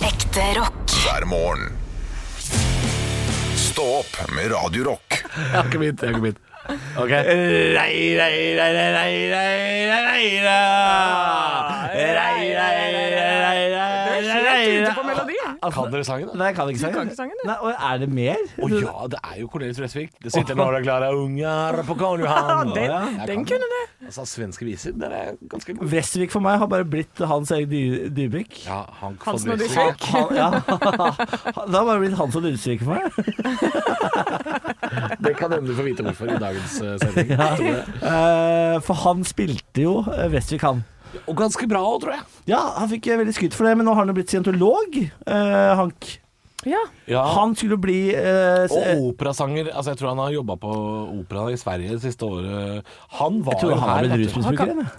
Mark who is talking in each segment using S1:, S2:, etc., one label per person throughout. S1: Ekte rock.
S2: hver morgen. Stå opp med Radio Rock.
S3: Jeg har ikke begynt. Jeg har ikke begynt. Ok.
S4: Kan dere sangen, da?
S3: Nei, jeg kan ikke sangen.
S5: kan ikke sangen, du.
S3: Nei, og er det mer?
S4: Å ja, det er jo Cornelius Fresvik. Det sitter några glada ungar på Karl Johan. Å,
S5: Den-
S4: ja. Jeg
S5: den
S4: kan
S5: kunne du.
S4: Altså, svenske viser, den er ganske god.
S3: Vresvik for meg har bare blitt hans egen dy Dybvik.
S4: Ja, han
S5: Hansen
S4: von
S5: og
S4: Bresvik.
S5: Dybvik.
S3: Han, ja. Det har bare blitt Hans og Dyresvik for meg.
S4: Det kan hende du får vite hvorfor i dagens eh, sending.
S3: Eh, for han spilte jo eh, Vresvik, han.
S4: Og ganske bra òg, tror jeg.
S3: Ja, han fikk eh, veldig skudd for det, men nå har han jo blitt scientolog, eh, Hank.
S5: Ja.
S4: Ja.
S3: Han skulle jo bli eh, s-
S4: Og operasanger. Altså, jeg tror han har jobba på opera i Sverige det siste året. Han var
S3: Jeg tror
S4: jo
S3: han har
S4: her.
S3: blitt
S4: vet du.
S3: rusmisbruker, eller?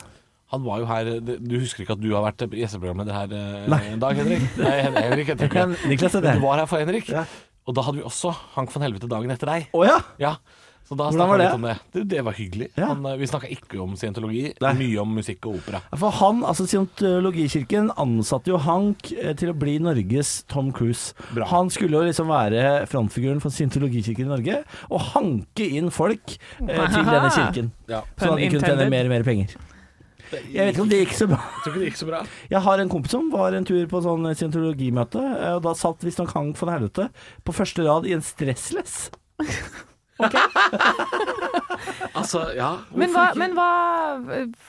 S4: Han var jo her det- Du husker ikke at du har vært gjesteprogramleder her eh,
S3: Nei.
S4: en dag, Henrik? Nei, Hen- Henrik heter
S3: Ja,
S4: ikke
S3: Niklas heter
S4: Men
S3: jeg.
S4: Du var her for Henrik.
S3: Ja.
S4: Og da hadde vi også Hank von Helvete dagen etter deg.
S3: Å ja!
S4: Ja, så da
S3: Hvordan var
S4: snakket vi
S3: det?
S4: litt om det. det. Det var hyggelig.
S3: Ja.
S4: Han, eh, vi snakka ikke om scientologi,
S3: Nei.
S4: mye om musikk og opera.
S3: For han, altså Scientologikirken ansatte jo Hank eh, til å bli Norges Tom Cruise.
S4: Bra.
S3: Han skulle jo liksom være frontfiguren for Scientologikirken i Norge, og hanke inn folk eh, til denne kirken. Så han
S5: Pun
S3: kunne tjene
S5: intended.
S3: mer og mer penger. Jeg vet ikke om det gikk så bra.
S4: Jeg tror ikke det gikk så bra.
S3: Jeg har en kompis som var en tur på sånn scientologimøte, eh, og da satt visstnok Hank von Helvete på første rad i en stressless.
S4: Altså, ja.
S5: Men hva, men hva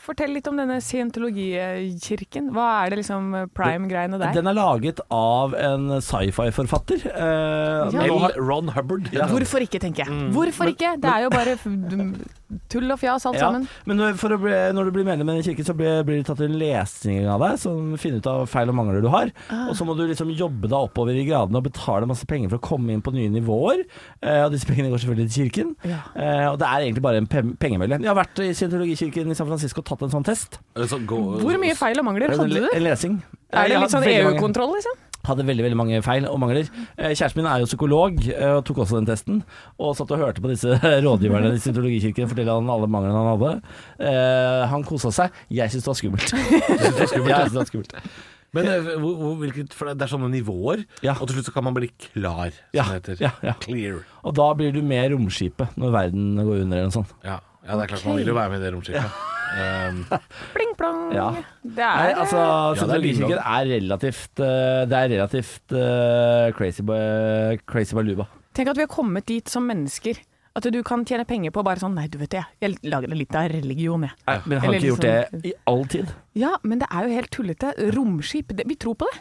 S5: Fortell litt om denne scientologikirken. Hva er det liksom prime-greiene der?
S3: Den er laget av en sci-fi-forfatter. Eh,
S5: Ja.
S3: men nå har-
S4: L. Ron Hubbard.
S3: Ja.
S5: Hvorfor ikke, tenker
S3: Mm.
S5: jeg. Hvorfor ikke? Det er jo bare f- dum- tull og fjas alt
S3: Ja,
S5: sammen.
S3: Men når, for å bli, når du blir medlem i den kirken, så blir, blir det tatt en lesning av deg som finner ut av feil og mangler du har.
S5: Ah.
S3: Og så må du liksom jobbe deg oppover i gradene og betale masse penger for å komme inn på nye nivåer. Eh, og disse pengene går selvfølgelig til kirken.
S5: Ja.
S3: Eh, og det er egentlig bare en pe- pengemølle. Jeg har vært i scientologikirken i San Francisco og tatt en sånn test.
S4: Altså,
S5: Hvor mye feil og mangler hadde
S3: en,
S5: du?
S3: le- en lesing.
S5: Er det
S3: Jeg
S5: litt
S3: hadde
S5: sånn
S3: veldig mange-
S5: EU-kontroll, liksom?
S3: hadde veldig veldig mange feil og mangler. Eh, Kjæresten min er jo psykolog eh, og tok også den testen. Og satt og hørte på disse rådgiverne i Scientologikirken fortelle han alle manglene han hadde. Eh, Han kosa seg. Jeg syntes det var skummelt. Ja, jeg synes det var skummelt.
S4: Men eh, hvor, hvor, hvilket, for det det er sånne nivåer,
S3: Ja.
S4: og til slutt så kan man bli klar, som
S3: Ja,
S4: det heter.
S3: ja, ja.
S4: Clear.
S3: Og da blir du med romskipet når verden går under eller noe sånt.
S4: Ja. ja, det er klart man vil jo være med i det romskipet. Um,
S5: Pling plong.
S3: Ja.
S5: Det
S3: Nei,
S5: er
S3: altså,
S4: Ja, det er
S3: Scientologikirken er relativt eh, Det er relativt eh, crazy, ba- crazy baluba.
S5: Tenk at vi har kommet dit som mennesker. At du kan tjene penger på bare sånn Nei, du vet det, jeg lager litt av religion, jeg.
S3: Men har
S5: Eller
S3: ikke gjort
S5: liksom-
S3: det i all tid.
S5: Ja, men det er jo helt tullete. Romskip. Det, vi tror på det.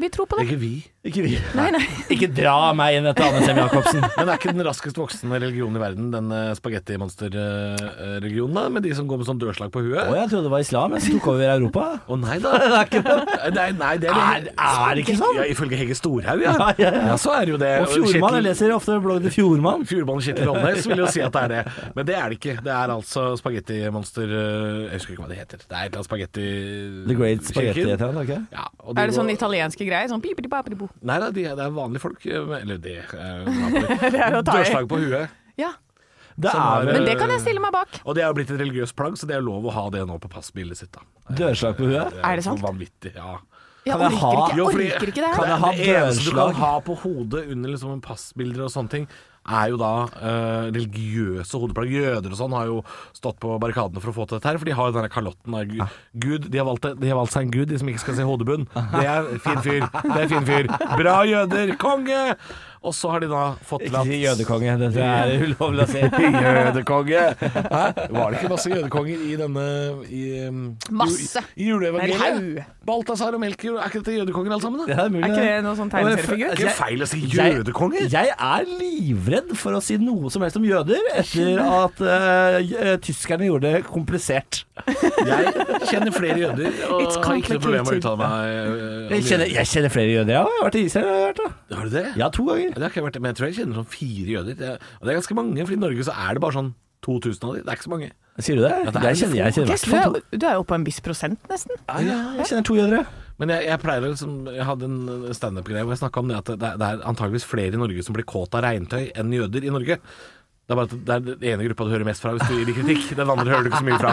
S5: Vi tror på det.
S4: ikke vi.
S3: Ikke vi.
S5: Nei, nei.
S3: Ikke dra meg inn etter Anne Sem Jacobsen.
S4: Men det er ikke den raskest voksende religionen i verden, den eh, spagettimonsterreligionen, da, med de som går med sånn dørslag på huet.
S3: Å, jeg trodde det var islam, jeg som tok over Europa.
S4: Å nei da, det er ikke det. Nei, nei, det er,
S3: Er- er det ikke sånn?
S4: Ja, ifølge Hege Storhaug, ja.
S3: Ja, ja, ja.
S4: så er det jo det.
S3: Eh, Og Fjordmann, jeg
S4: Kjetil-
S3: leser ofte bloggen til Fjordmann.
S4: Fjordmann Kjetil Åndnes vil jo si at det er det, men det er det ikke. Det er altså spagettimonster eh, Jeg husker ikke hva det heter. Det er et eller annet spagetti...
S3: The Great Spaghetti
S4: Kirken.
S3: heter han, ikke?
S4: Ja, og de
S5: Er det sånn
S4: går-
S5: italienske greier? Sånn pipidi-papidi-bo.
S4: Nei da, de, det er vanlige folk. eh, Eller det eh,
S5: å ta i.
S4: Dørslag på huet.
S5: Ja.
S3: Det
S4: Som
S3: er
S4: har-
S3: vel
S5: Men det kan jeg stille meg bak.
S4: Og det er jo blitt et religiøst plagg, så det er lov å ha det nå på passbildet sitt. da
S3: eh,
S4: Eh,
S3: dørslag på huet.
S5: Er det sant?
S4: Så vanvittig, ja.
S5: Jeg
S3: Kan jeg
S5: orker
S3: ha-
S5: ikke, jeg
S4: Jo, fordi-
S5: orker ikke det
S3: Kan
S5: her.
S3: jeg ha
S4: det eneste du kan
S3: dørslag?
S4: ha på hodet under liksom en passbilder og sånne ting, er jo da eh, religiøse hodeplagg. Jøder og sånn har jo stått på barrikadene for å få til dette her, for de har jo denne kalotten av gu- Gud. De har, valgt, det- de har valgt seg en gud, de som ikke skal se hodebunn. Det er fin fyr. Det er fin fyr. Bra jøder! Konge! Og så har de da fått til
S3: Ikke
S4: at
S3: si jødekonge, det tror jeg er ulovlig å si.
S4: Jødekonge! Hæ? Var det ikke masse jødekonger i denne i, um,
S5: Masse.
S4: I
S5: En haug.
S4: juleevangeliet? Balthazar og Melchior, er ikke dette jødekonger alle sammen? da?
S3: Det er mulig. Altså,
S5: Er ikke det noen sånn tegneseriefigur?
S4: Det er ikke feil å si
S3: Jeg-
S4: jødekonger.
S3: Jeg er livredd for å si noe som helst om jøder etter at eh, tyskerne gjorde det komplisert.
S4: Jeg kjenner flere jøder og
S5: It's
S4: har ikke noe problem med å
S5: complicated.
S4: uttale meg. øh, om
S3: Jeg kjenner, jeg kjenner flere jøder, ja. Jeg har vært i Israel, jeg har vært det.
S4: jøder. Har du det?
S3: Ja, to ganger.
S4: Det har ikke jeg vært, men jeg tror jeg kjenner sånn fire jøder. Det er, og det er ganske mange, for i Norge så er det bare sånn 2000 av de. Det er ikke så mange.
S3: Sier du det?
S4: det er
S3: Jeg kjenner, jeg kjenner i hvert
S5: Chris, du,
S3: fall
S5: er,
S3: to.
S5: du er jo på en viss prosent, nesten.
S3: Ja, jeg kjenner to jødere.
S4: Men jeg, jeg pleier å liksom Jeg hadde en standup-greie hvor jeg snakka om det at det er, det er antageligvis flere i Norge som blir kåt av regntøy enn jøder i Norge. Det er bare at det er den ene gruppa du hører mest fra hvis du gir dem kritikk. Den andre hører du ikke så mye fra.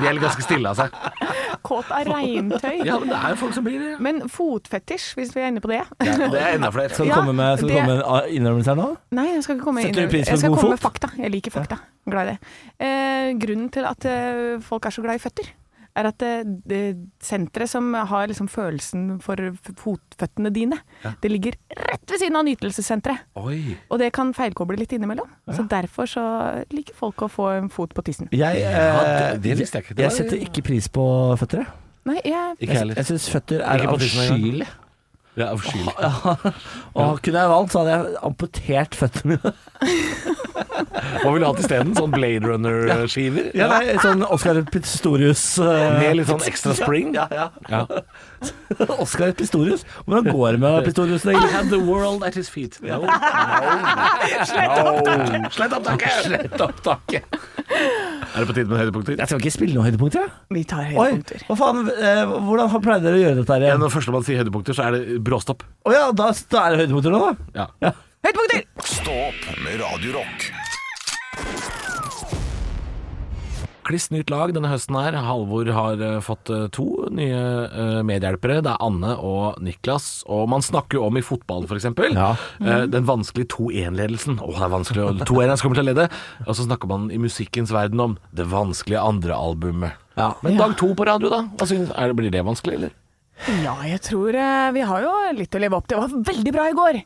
S4: De er ganske stille av seg.
S5: kåt av regntøy.
S4: Ja, men det er jo folk som blir det.
S5: Men fotfetisj, hvis vi er inne på det.
S4: Det er enda flere. Sånn-
S3: Skal det
S5: Ja,
S3: komme med, skal det
S5: det-
S3: komme med
S4: eh,
S3: en innrømmelse her nå?
S5: Nei, jeg skal ikke komme inn
S3: Setter du pris på
S5: Jeg skal
S3: god
S5: komme med
S3: fot?
S5: fakta. Jeg liker fakta. Glad i det. Eh, grunnen til at eh, folk er så glad i føtter, er at eh, det senteret som har liksom følelsen for f- fotføttene dine, det ligger rett ved siden av nytelsessenteret.
S4: Oi.
S5: Og det kan feilkoble litt innimellom. Så derfor så liker folk å få en fot på tissen.
S3: Jeg,
S4: Ja, det- det
S3: eh,
S4: visste jeg ikke. Det var-
S3: jeg setter ikke pris på føtter, jeg.
S5: Nei, jeg
S4: Ikke
S3: Jeg,
S4: heller.
S3: jeg syns føtter er
S4: Ikke på tissen engang.
S3: avskyelig.
S4: Jeg er avskyelig.
S3: Og kunne jeg valgt, så hadde jeg amputert føttene mine.
S4: Hva vil du ha til isteden? Sånn Blade Runner-skiver?
S3: Ja, nei, sånn Oscar Pistorius eh,
S4: Med litt sånn ekstra spring?
S3: Ja, ja.
S4: Ja.
S3: Oscar Pistorius? Hvordan går det med Pistorius? egentlig?
S4: had the world at his feet. No. Slett opptaket! Slett opptaket. Er det på tide med høydepunkter?
S3: Jeg skal ikke spille noen høydepunkter, jeg.
S5: Vi tar
S3: Oi,
S5: høydepunkter.
S3: hva faen, eh, hvordan har- pleide dere å gjøre dette her
S4: Ja,
S3: igjen?
S4: når førstemann sier høydepunkter, så er det bråstopp.
S3: Å ja, da, da er det høydepunkter nå, da.
S4: Ja.
S5: Høydepunkter!
S2: Stå opp med Radio Rock.
S4: Kliss nytt lag denne høsten her. Halvor har eh, fått eh, to nye eh, medhjelpere. Det er Anne og Niklas. Og man snakker jo om i fotball, f.eks.
S3: Ja.
S4: Den vanskelige 2-1-ledelsen. Å, det er vanskelig å 2-1 som kommer til å lede. Og så snakker man i musikkens verden om det vanskelige andre albumet.
S3: Ja.
S4: Men dag to på radio, da? Hva synes, er det, blir det vanskelig, eller?
S5: Ja, jeg tror eh, vi har jo litt å leve opp til. Det var veldig bra i går!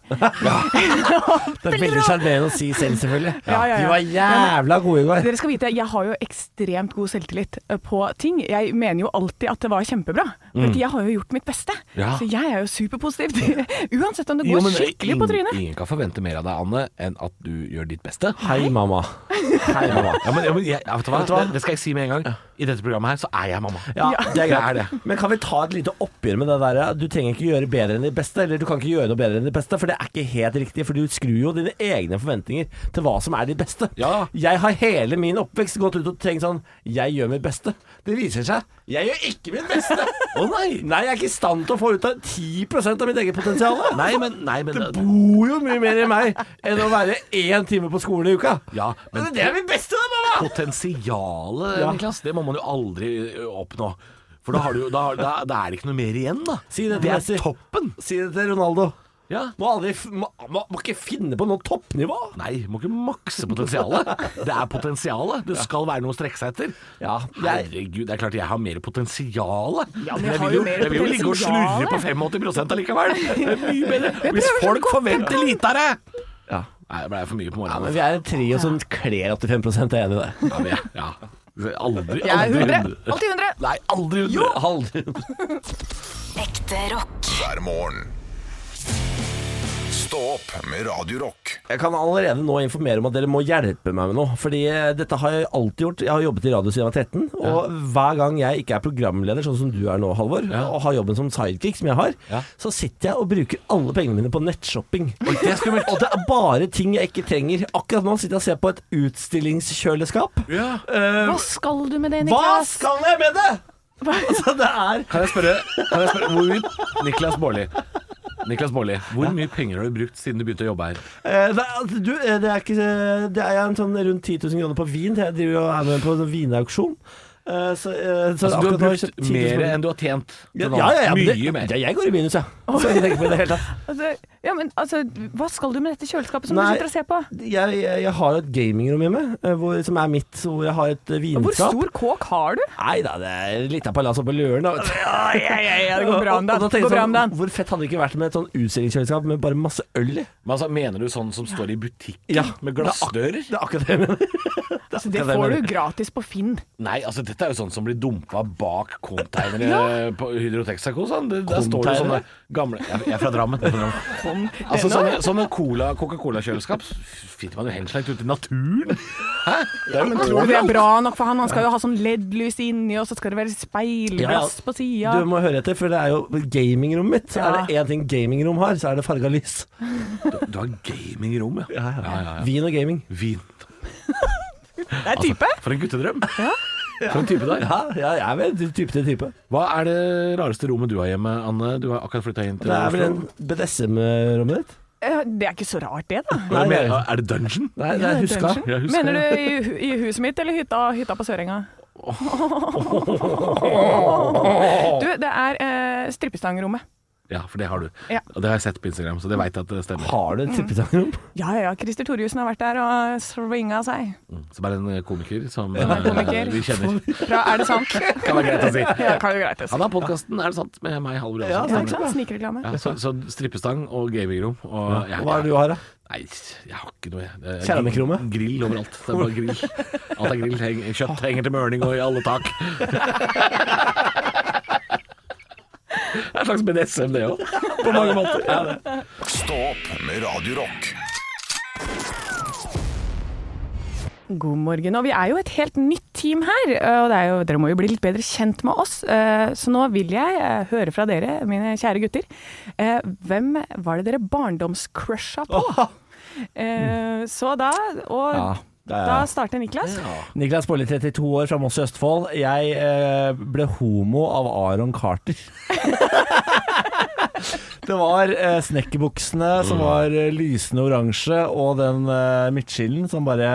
S3: Det er veldig sjarmerende å si selv, selvfølgelig.
S5: Ja, ja, ja.
S3: De var jævla gode i går.
S5: Dere skal vite, jeg har jo ekstremt god selvtillit eh, på ting. Jeg mener jo alltid at det var kjempebra, for jeg har jo gjort mitt beste.
S4: Mm. Ja.
S5: Så jeg er jo superpositiv. Uansett om det går skikkelig på trynet.
S4: Ingen kan forvente mer av deg, Anne, enn at du gjør ditt beste.
S3: Hei, mamma. Hei, mamma.
S4: Ja, men, ja, men jeg, ja, vet du hva?
S3: Vet du hva?
S4: Det, det skal jeg si med en gang. I dette programmet her så er jeg mamma.
S3: Ja, det er
S4: Jeg
S3: greit.
S4: er det.
S3: Men kan vi ta et lite oppgjør med det der? ja? Du trenger ikke gjøre bedre enn de beste, eller du kan ikke gjøre noe bedre enn de beste, for det er ikke helt riktig. For du skrur jo dine egne forventninger til hva som er de beste.
S4: Ja.
S3: Jeg har hele min oppvekst gått ut og tenkt sånn Jeg gjør mitt beste. Det viser seg. Jeg gjør ikke mitt beste. Å nei. Nei, jeg er ikke i stand til å få ut av 10 av mitt eget potensial.
S4: Nei, men, nei, men
S3: Det bor jo mye mer i meg enn å være én time på skolen i uka. Altså,
S4: Ja, men-
S3: Det er mitt beste, da, mamma!
S4: Potensialet,
S3: Ja.
S4: Niklas, det må man jo aldri ø, oppnå. For da, har du, jo- da, har- da, da er det ikke noe mer igjen, da.
S3: Si det til
S4: det er
S3: Messi.
S4: toppen.
S3: Si det til Ronaldo.
S4: Ja.
S3: Må, aldri, f- må, må, må ikke finne på noe toppnivå.
S4: Nei, må ikke makse potensialet. Det er potensialet. Det skal være noe å strekke seg etter.
S3: Ja, jeg-
S4: Herregud, det er klart jeg har mer potensial.
S5: Ja, men jeg
S4: jeg
S5: har
S4: vil
S5: jo
S4: jo,
S5: mer
S4: jeg vil jo ligge og slurve på
S5: potensial.
S4: 85 allikevel. Det er mye bedre. Hvis
S5: prøver så
S4: folk
S5: godt jeg
S4: forventer lite av deg
S3: Ja.
S4: Nei, det ble for mye på
S3: Ja, men
S4: morgenen.
S3: vi er en trio som kler 85 jeg er enig i det.
S4: Ja, men jeg- ja. Aldri,
S5: Jeg er
S4: aldri
S5: 100. Alltid 100.
S4: Nei, aldri
S3: Jo.
S4: hundre.
S3: Aldri.
S1: Ekte rock.
S2: hver morgen. Stå opp med Radio Rock.
S3: Jeg kan allerede nå informere om at dere må hjelpe meg med noe. Fordi eh, dette har jeg alltid gjort. Jeg har jobbet i radio siden jeg var 13. Og hver gang jeg ikke er programleder, sånn som du er nå, Halvor, og har jobben som sidekick, som jeg har,
S4: Ja.
S3: så sitter jeg og bruker alle pengene mine på nettshopping. og det er bare ting jeg ikke trenger. Akkurat nå sitter jeg og ser på et utstillingskjøleskap.
S4: Ja.
S3: Eh,
S5: Hva skal du med det,
S3: hva
S5: Niklas?
S3: skal jeg med det?! Altså, det er
S4: Kan jeg spørre, kan jeg spørre hvor mye, Niklas Baarli Niklas Baarli, hvor mye penger har du brukt siden du begynte å jobbe her?
S3: Eh, det, er- altså, du, eh, det er ikke eh, Det er en sånn rundt 10 000 kroner på vin. Jeg driver jo er med på en sånn vinauksjon. Eh, så, eh, så
S4: Altså, du har
S3: akkurat nå
S4: brukt
S3: 10 000
S4: mer
S3: kroner.
S4: enn du har tjent.
S3: ja,
S4: til nå.
S3: ja, ja, men det-
S4: Mye mer.
S3: Ja, jeg går i minus, jeg. Ja. Så jeg tenker på det hele tatt.
S5: Altså, ja, men, altså, hva skal du med dette kjøleskapet som
S3: Nei.
S5: du sitter og ser på?
S3: Jeg, jeg, jeg har jo et gamingrom hjemme, eh, hvor, som er mitt, hvor jeg har et eh, vinskap.
S5: Hvor stor kåk har du?
S3: Nei da, det er litt av palass oppe på Løren. da, vet du.
S5: det går bra om dagen.
S3: Og da tenker jeg
S5: Det går bra
S3: sånn,
S5: om dagen.
S3: Hvor fett hadde det ikke vært med et sånn utstillingskjøleskap med bare masse øl i?
S4: Men altså, mener du sånn som står i butikk
S3: Ja,
S4: med
S3: det er ak-
S4: glassdører?
S3: Det er akkurat det jeg mener. Det, er
S5: Altså, Det
S3: akkurat jeg
S5: får
S3: mener.
S5: du gratis på Finn.
S4: Nei, altså dette er jo sånn som blir dumpa bak containere på Hydro Texaco. Sånn. Det- Der står det sånne
S3: Containere?
S4: gamle Jeg, jeg er fra Drammen. Jeg er fra Drammen. Altså, sånne sånne cola, Coca-Cola-kjøleskap finner man jo henslengt ute i naturen. Hæ? Det er jo
S5: Tror du det er
S4: overalt.
S5: bra nok for han? Han skal jo ha sånn LED-lys inni, og så skal det være speilglass på sida.
S3: Du må høre etter, for det er jo gamingrommet mitt.
S5: Ja.
S3: Er det én ting gamingrom har, så er det farga lys.
S4: Du har gamingrom, ja. Ja, ja, ja.
S3: Vin og gaming.
S4: Vin. altså,
S5: Det
S3: altså-
S5: er type.
S4: For en guttedrøm. For en type der.
S3: Ja, ja jeg er vel type til type.
S4: Hva er det rareste rommet du har hjemme, Anne? Du har akkurat flytta inn til
S3: Det er vel en
S4: Oslo.
S3: BDSM-rommet ditt?
S5: Eh, Det er ikke så rart, det, da.
S4: Hva
S3: Nei,
S4: mener-
S3: det
S4: Er det dungeon?
S3: Nei, det er huska.
S5: Dungeon.
S4: Jeg husker
S5: Mener du i, hu- i huset mitt eller hytta, hytta på Sørenga? Du, det er eh, strippestangrommet.
S4: Ja, for det har du.
S5: Ja.
S4: Og det har jeg sett på Instagram, så det veit jeg at det stemmer.
S3: Har
S5: Mm.
S3: du et tippetangerom?
S5: Ja, ja, ja. Christer Thoriussen har vært der og svinga seg.
S4: Som er en eh, komiker som
S5: er en
S4: eh,
S5: komiker.
S4: vi kjenner.
S5: Fra Er det sant?
S4: Kan være greit å si.
S5: Ja, kan jo greit å si.
S4: Han har podkasten Er det sant? med meg, Halvor
S5: Ja,
S4: Johansen.
S5: ikke sant? Snikreklame.
S4: Ja, så, så strippestang og gamingrom. Og jeg,
S3: Hva er det du har, da?
S4: Nei, jeg har ikke noe, jeg. Det er
S3: Keramikkrommet?
S4: Grill overalt. Det er bare grill. Alt er grill. Heng, kjøtt henger til mørning og i alle tak. Det er en slags BDSM, det òg. På mange måter.
S2: Stå opp med Radio Rock.
S5: God morgen. Og vi er jo et helt nytt team her. eh, Og det er jo, dere må jo bli litt bedre kjent med oss. Eh, Så nå vil jeg eh, høre fra dere, mine kjære gutter. Eh, Hvem var det dere barndomscrusha på? Eh, Så da Og
S3: Ja, det er-
S5: da starter Niklas.
S3: Niklas Baarli, 32 år, fra Moss i Østfold. Jeg eh, ble homo av Aron Carter. det var eh, snekkerbuksene som var eh, lysende oransje, og den eh, midtskillen som bare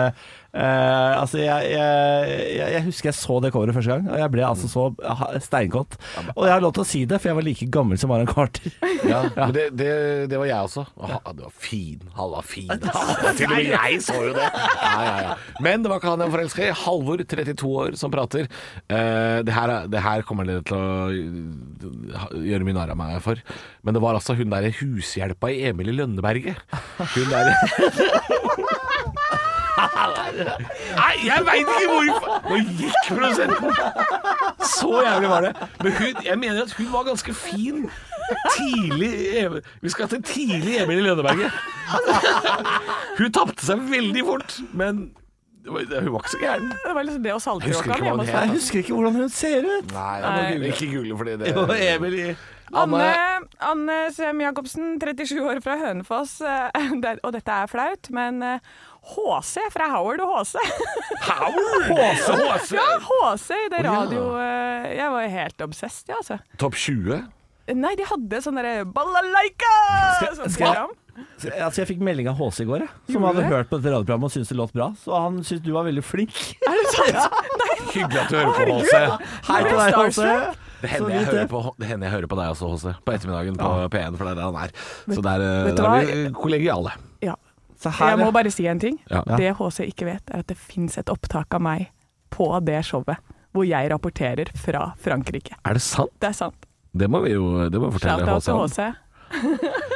S3: eh, altså jeg, jeg, jeg, jeg husker jeg så det coveret første gang, og jeg ble altså så ha- steinkåt. Og jeg har lov til å si det, for jeg var like gammel som Aron Carter.
S4: Ja, men det, det, det var jeg også. Å, ha- du var fin. Han var fin. ass. Til og med jeg så jo det. Ja, ja, ja. Men det var ikke han jeg var forelska i. Halvor, 32 år, som prater. Eh, det, her, er- det her kommer dere til å ha- gjøre mye narr av meg for. Men det var altså hun derre hushjelpa i Emil i Lønneberget. Hun derre Nei, jeg veit ikke hvorfor! Nå gikk prosenten! Så jævlig var det. Men hun, jeg mener at hun var ganske fin tidlig i- Vi skal til tidlig Emil i Lønneberget. Hun tapte seg veldig fort, men det var- hun var ikke så gæren.
S5: Det var liksom det og
S4: Jeg husker ikke
S5: saltkråka.
S4: hva hun
S5: hjemme hos
S4: het.
S5: deg.
S3: Jeg husker ikke hvordan hun ser ut.
S4: Nei,
S5: Nei.
S4: jeg må google. ikke google fordi det
S3: Jo, Emil
S4: i
S5: Anne, Anne Sem Jacobsen, 37 år fra Hønefoss. eh, det- Og dette er flaut, men eh, HC fra Howard og HC.
S4: Howard! Håse,
S5: Ja, HC i det
S4: Å, ja.
S5: radio... eh, Jeg var helt obsessed, ja, altså.
S4: Topp 20?
S5: Nei, de hadde sånn derre balalaika!
S3: Skal-
S5: sånn
S3: skal jeg-
S5: program.
S3: Altså, jeg fikk melding av HC i går, jeg, som
S5: Gjorde du
S3: hadde
S5: det?
S3: hørt på dette radioprogrammet og syntes det låt bra. Så han syntes du var veldig flink.
S4: Hyggelig at du hører på, Håse.
S3: Hei
S5: til deg, Åse.
S4: Det hender,
S3: Så
S4: jeg
S3: vidt
S4: hører
S3: det.
S4: på, det hender jeg hører på deg også, Håse. På ettermiddagen på P1, for det er der han er. Så der,
S5: vet du
S4: der er vi kollegiale.
S5: Ja.
S3: Så her,
S5: Jeg må bare si en ting.
S4: Ja.
S5: Det HC ikke vet, er at det fins et opptak av meg på det showet hvor jeg rapporterer fra Frankrike.
S4: Er det sant?
S5: Det er sant.
S4: Det må vi jo det må vi fortelle
S5: Shout-out til
S4: om.
S5: HC.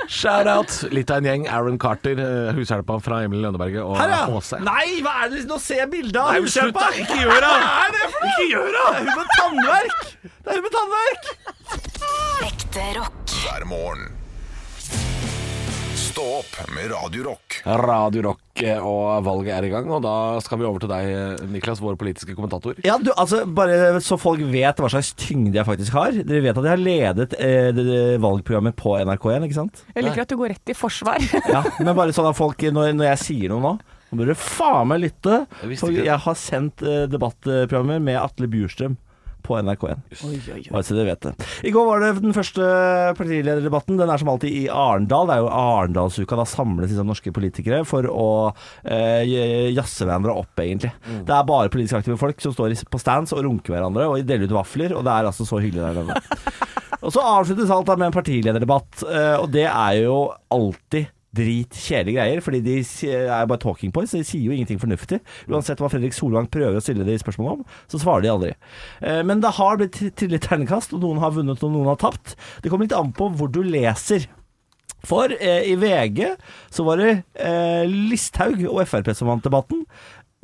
S4: Shout-out! Litt av en gjeng. Aaron Carter, eh, hushjelpa fra Emil i Lønneberget og
S3: her, ja.
S4: Åse.
S3: Nei, hva er det? Nå ser jeg bildet av
S4: Nei,
S3: hun
S4: slutt da.
S3: kjempa.
S4: Ikke gjør det!
S3: Hva er det for noe? Det er hun med tannverk! Det er hun med tannverk!
S1: Ekte rock.
S2: hver morgen. Stå opp med Radio Rock.
S4: Radio Rock eh, og valget er i gang, og da skal vi over til deg, eh, Niklas, vår politiske kommentator.
S3: Ja, du, altså, bare så folk vet hva slags tyngde jeg faktisk har. Dere vet at jeg har ledet eh, det, det valgprogrammet på NRK1, ikke sant?
S5: Jeg liker at du går rett i forsvar.
S3: Ja, men bare sånn at folk, når, når jeg sier noe nå, nå bør du faen meg lytte.
S4: Jeg visste
S3: For
S4: ikke det.
S3: jeg har sendt eh, debattprogrammer med Atle Bjurstrøm på NRK1. Bare så dere vet det. I går var det den første partilederdebatten. Den er som alltid i Arendal. Det er jo Arendalsuka. Da samles liksom norske politikere for å eh, jazze hverandre opp, egentlig. Det er bare politisk aktive folk som står i- på stands og runker hverandre og deler ut vafler, og det er altså så hyggelig der nede. Og så avsluttes alt da med en partilederdebatt, eh, og det er jo alltid dritkjedelige greier, fordi de si- er bare talking points, de sier jo ingenting fornuftig. Uansett hva Fredrik Solvang prøver å stille de spørsmål om, så svarer de aldri. Eh, Men det har blitt tri- trillet terningkast, og noen har vunnet og noen har tapt. Det kommer litt an på hvor du leser. For eh, i VG så var det eh, Listhaug og Frp som vant debatten,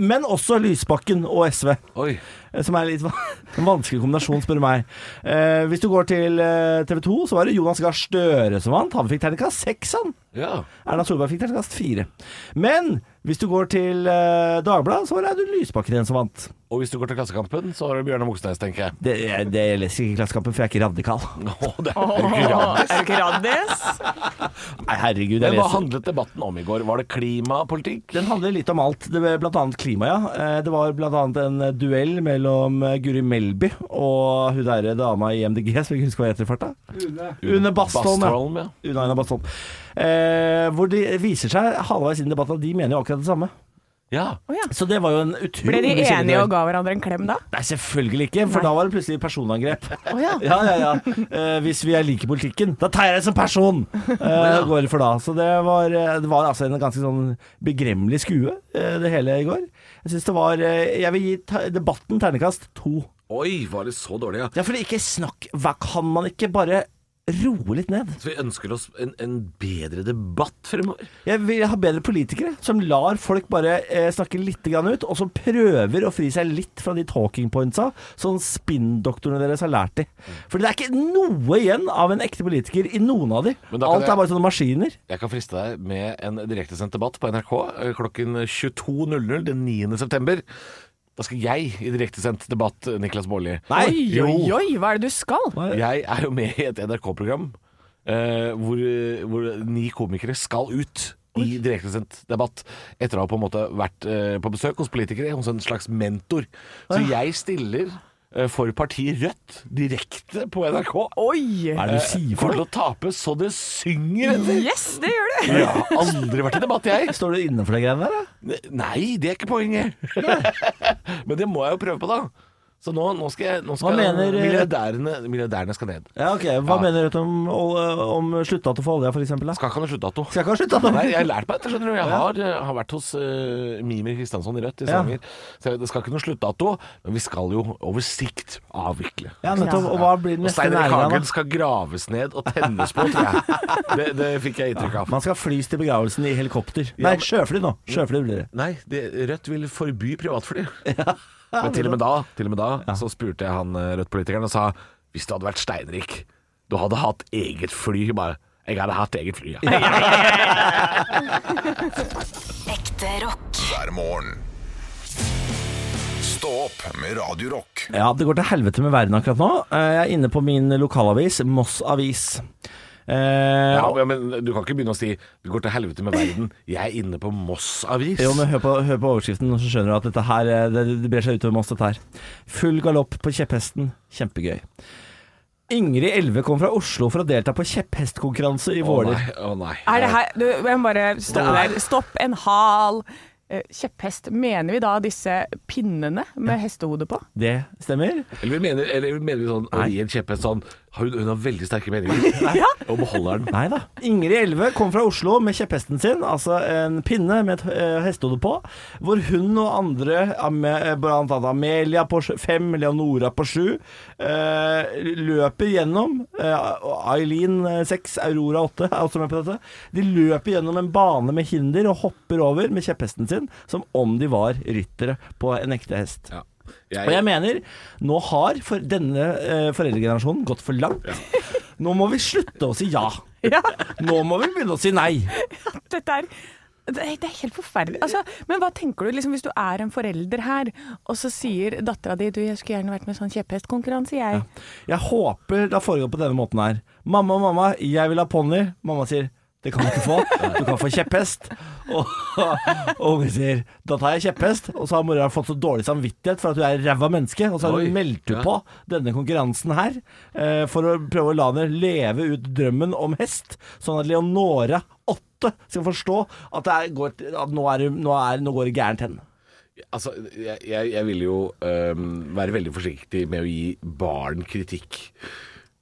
S3: men også Lysbakken og SV.
S4: Oi.
S3: Eh, Som er litt van- en vanskelig kombinasjon, spør du meg. Eh, hvis du går til eh, TV 2, så var det Jonas Gahr Støre som vant. Han fikk terningkast seks, han.
S4: Ja.
S3: Erna Solberg fikk terningkast fire. Men hvis du går til eh, Dagbladet, så var det Audun Lysbakken igjen som vant.
S4: Og hvis du går til Klassekampen, så har du Bjørnar Moxnes, tenker jeg.
S3: Det, det leser ikke Klassekampen, for jeg er ikke radikal.
S4: Å, det
S5: Åh,
S4: er gratis.
S5: er du ikke raddis?
S3: Nei, herregud, jeg
S4: Men hva
S3: leser
S4: handlet debatten om i går? Var det klimapolitikk?
S3: Den handler litt om alt, det var blant annet klima, ja. Eh, Det var blant annet en eh, duell mellom eh, Guri Melby og hun derre dama i MDG, som jeg ikke husker hva heter i farta. Une Bastholm, ja.
S4: Bastholm, ja.
S3: sånn. Una Aina Bastholm. Eh, hvor det viser seg halvveis inn i debatten at de mener jo akkurat det samme.
S4: Ja.
S5: Å ja.
S3: Så det var jo en utrolig
S5: Ble de
S3: kjekk
S5: enige
S3: dag.
S5: og ga hverandre en klem da?
S3: Nei, selvfølgelig ikke, for
S5: Nei.
S3: da var det plutselig personangrep.
S5: Å ja.
S3: Ja, ja, ja. Eh, hvis vi er like i politikken, da tar jeg deg som person! Eh, går det for da. Så det var, eh, det var altså en ganske sånn begremmelig skue, eh, det hele i går. Jeg synes det var eh, Jeg vil gi ta- debatten ternekast to.
S4: Oi, var det så dårlig, ja.
S3: Ja, for ikke snakk Hva kan man ikke bare roe litt ned?
S4: Så vi ønsker oss en, en bedre debatt fremover.
S3: Jeg vil ha bedre politikere som lar folk bare eh, snakke litt grann ut, og som prøver å fri seg litt fra de talking pointsa som spinndoktorene deres har lært de. Fordi det er ikke noe igjen av en ekte politiker i noen av de.
S4: Men da kan
S3: Alt
S4: jeg-
S3: er bare sånne maskiner.
S4: Jeg kan friste deg med en direktesendt debatt på NRK eh, klokken 22.00 den 9. september. Da skal jeg i direktesendt debatt, Niklas Baarli.
S3: Nei,
S5: Oi,
S4: jo.
S5: oi, oi, hva er det du skal?
S4: Jeg er jo med i et NRK-program eh, hvor, hvor ni komikere skal ut i direktesendt debatt etter å ha på en måte vært eh, på besøk hos politikere, hos en slags mentor. Så jeg stiller eh, for partiet Rødt direkte på NRK. Eh,
S5: Oi!
S3: Hva er det du sier for
S4: Kommer
S3: noe?
S4: til å tape så det synger etter.
S5: Yes, det gjør du!
S4: Jeg har aldri vært i debatt, jeg.
S3: Står du innenfor de greiene der, da?
S4: Nei, det er ikke poenget. Men det må jeg jo prøve på, da. Så nå, nå skal, jeg, nå skal
S3: Hva mener, eh,
S4: milliardærene, milliardærene skal ned.
S3: Ja, ok. Hva
S4: Ja.
S3: mener Rødt om, ol- om sluttdato for olja, for eksempel? Da?
S4: Skal ikke ha noen sluttdato.
S3: Skal ikke ha sluttdato?
S4: Nei, jeg har lært meg dette, skjønner du. Jeg har, eh, har vært hos eh, Mimir Kristiansson i Rødt i
S3: Ja.
S4: Stavanger. Så det skal ikke noen sluttdato, men vi skal jo over sikt avvikle.
S3: Ja, nettopp. Og hva blir den
S4: Og
S3: neste
S4: Stein Erik
S3: næringa,
S4: Hagen
S3: da?
S4: skal graves ned og tennes på, tror jeg. Det, det fikk jeg inntrykk av.
S3: Man skal flys til begravelsen i helikopter. Nei, sjøfly nå. Sjøfly blir det.
S4: Nei, det, Rødt vil forby privatfly. Men til og med da, til og med da så spurte jeg han eh, Rødt-politikeren og sa hvis du hadde vært steinrik, du hadde hatt eget fly. Bare, jeg hadde hatt eget fly, ja.
S1: Ekte rock.
S2: hver morgen. Stå opp med Radio Rock.
S3: Ja, det går til helvete med verden akkurat nå. Eh, Jeg er inne på min lokalavis, Moss Avis. Eh,
S4: Ja, men- men du kan ikke begynne å si Det går til helvete med verden. Jeg er inne på Moss Avis.
S3: Jo, men hør på, hør på overskriften, så skjønner du at dette her eh, Det, det brer seg utover Moss, dette her. Full galopp på kjepphesten. Kjempegøy. Ingrid Elve kom fra Oslo for å delta på kjepphestkonkurranse i
S4: Å
S3: Våler.
S4: nei, å nei.
S5: Er det her du, Jeg må bare stoppe
S3: Det er-
S5: der. Stopp en hal. Eh, Kjepphest. Mener vi da disse pinnene med hestehode på?
S3: Det stemmer.
S4: Eller vi mener, eller vi mener sånn å gi en kjepphest sånn Hun, hun har veldig sterke meninger. Og beholder den.
S3: Nei da. Ingrid Elve kom fra Oslo med kjepphesten sin, altså en pinne med et eh, hestehode på, hvor hun og andre, Ame- eh, blant annet Amelia på sj- fem, Leonora på sju, eh, løper gjennom eh, og Eileen eh, seks, Aurora åtte er også med på dette. De løper gjennom en bane med hinder og hopper over med kjepphesten sin, som om de var ryttere på en ekte hest.
S4: Ja.
S3: Og jeg mener, nå har for denne eh, foreldregenerasjonen gått for langt. Nå må vi slutte å si ja.
S5: Ja,
S3: Nå må vi begynne å si nei.
S5: dette er det er det er helt forferdelig. Altså, men hva tenker du liksom, hvis du er en forelder her, og så sier dattera di du, jeg skulle gjerne vært med i sånn kjepphestkonkurranse, jeg.
S3: Jeg håper det har foregått på denne måten her. Mamma, mamma, jeg vil ha ponni. Mamma sier det kan du ikke få. Du kan få kjepphest. Og, og ungen sier da tar jeg kjepphest. Og så har mora fått så dårlig samvittighet for at du er ræva menneske. Og så har
S4: Oi,
S3: hun meldt
S4: ja.
S3: på denne konkurransen her eh, for å prøve å la henne leve ut drømmen om hest, sånn at Leonora 8 skal forstå at, det er, går, at nå, er, det- nå, er, nå går det gærent hen.
S4: Altså, jeg, jeg, jeg vil jo øhm, være veldig forsiktig med å gi barn kritikk.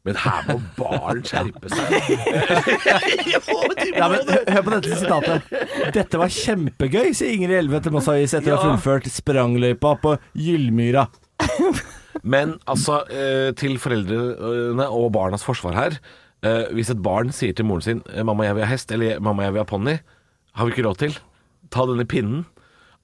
S4: Men her må barn skjerpe seg.
S3: Ja, men hø- Hør på dette sitatet. Dette var kjempegøy, sier Ingrid Elve til Moss Avis etter å ha fullført sprangløypa på Gyllmyra.
S4: Men altså, eh, til foreldrene eh, og barnas forsvar her eh, Hvis et barn sier til moren sin eh, 'Mamma, jeg vil ha hest' eller 'Mamma, jeg vil ha ponni', har vi ikke råd til. Ta denne pinnen.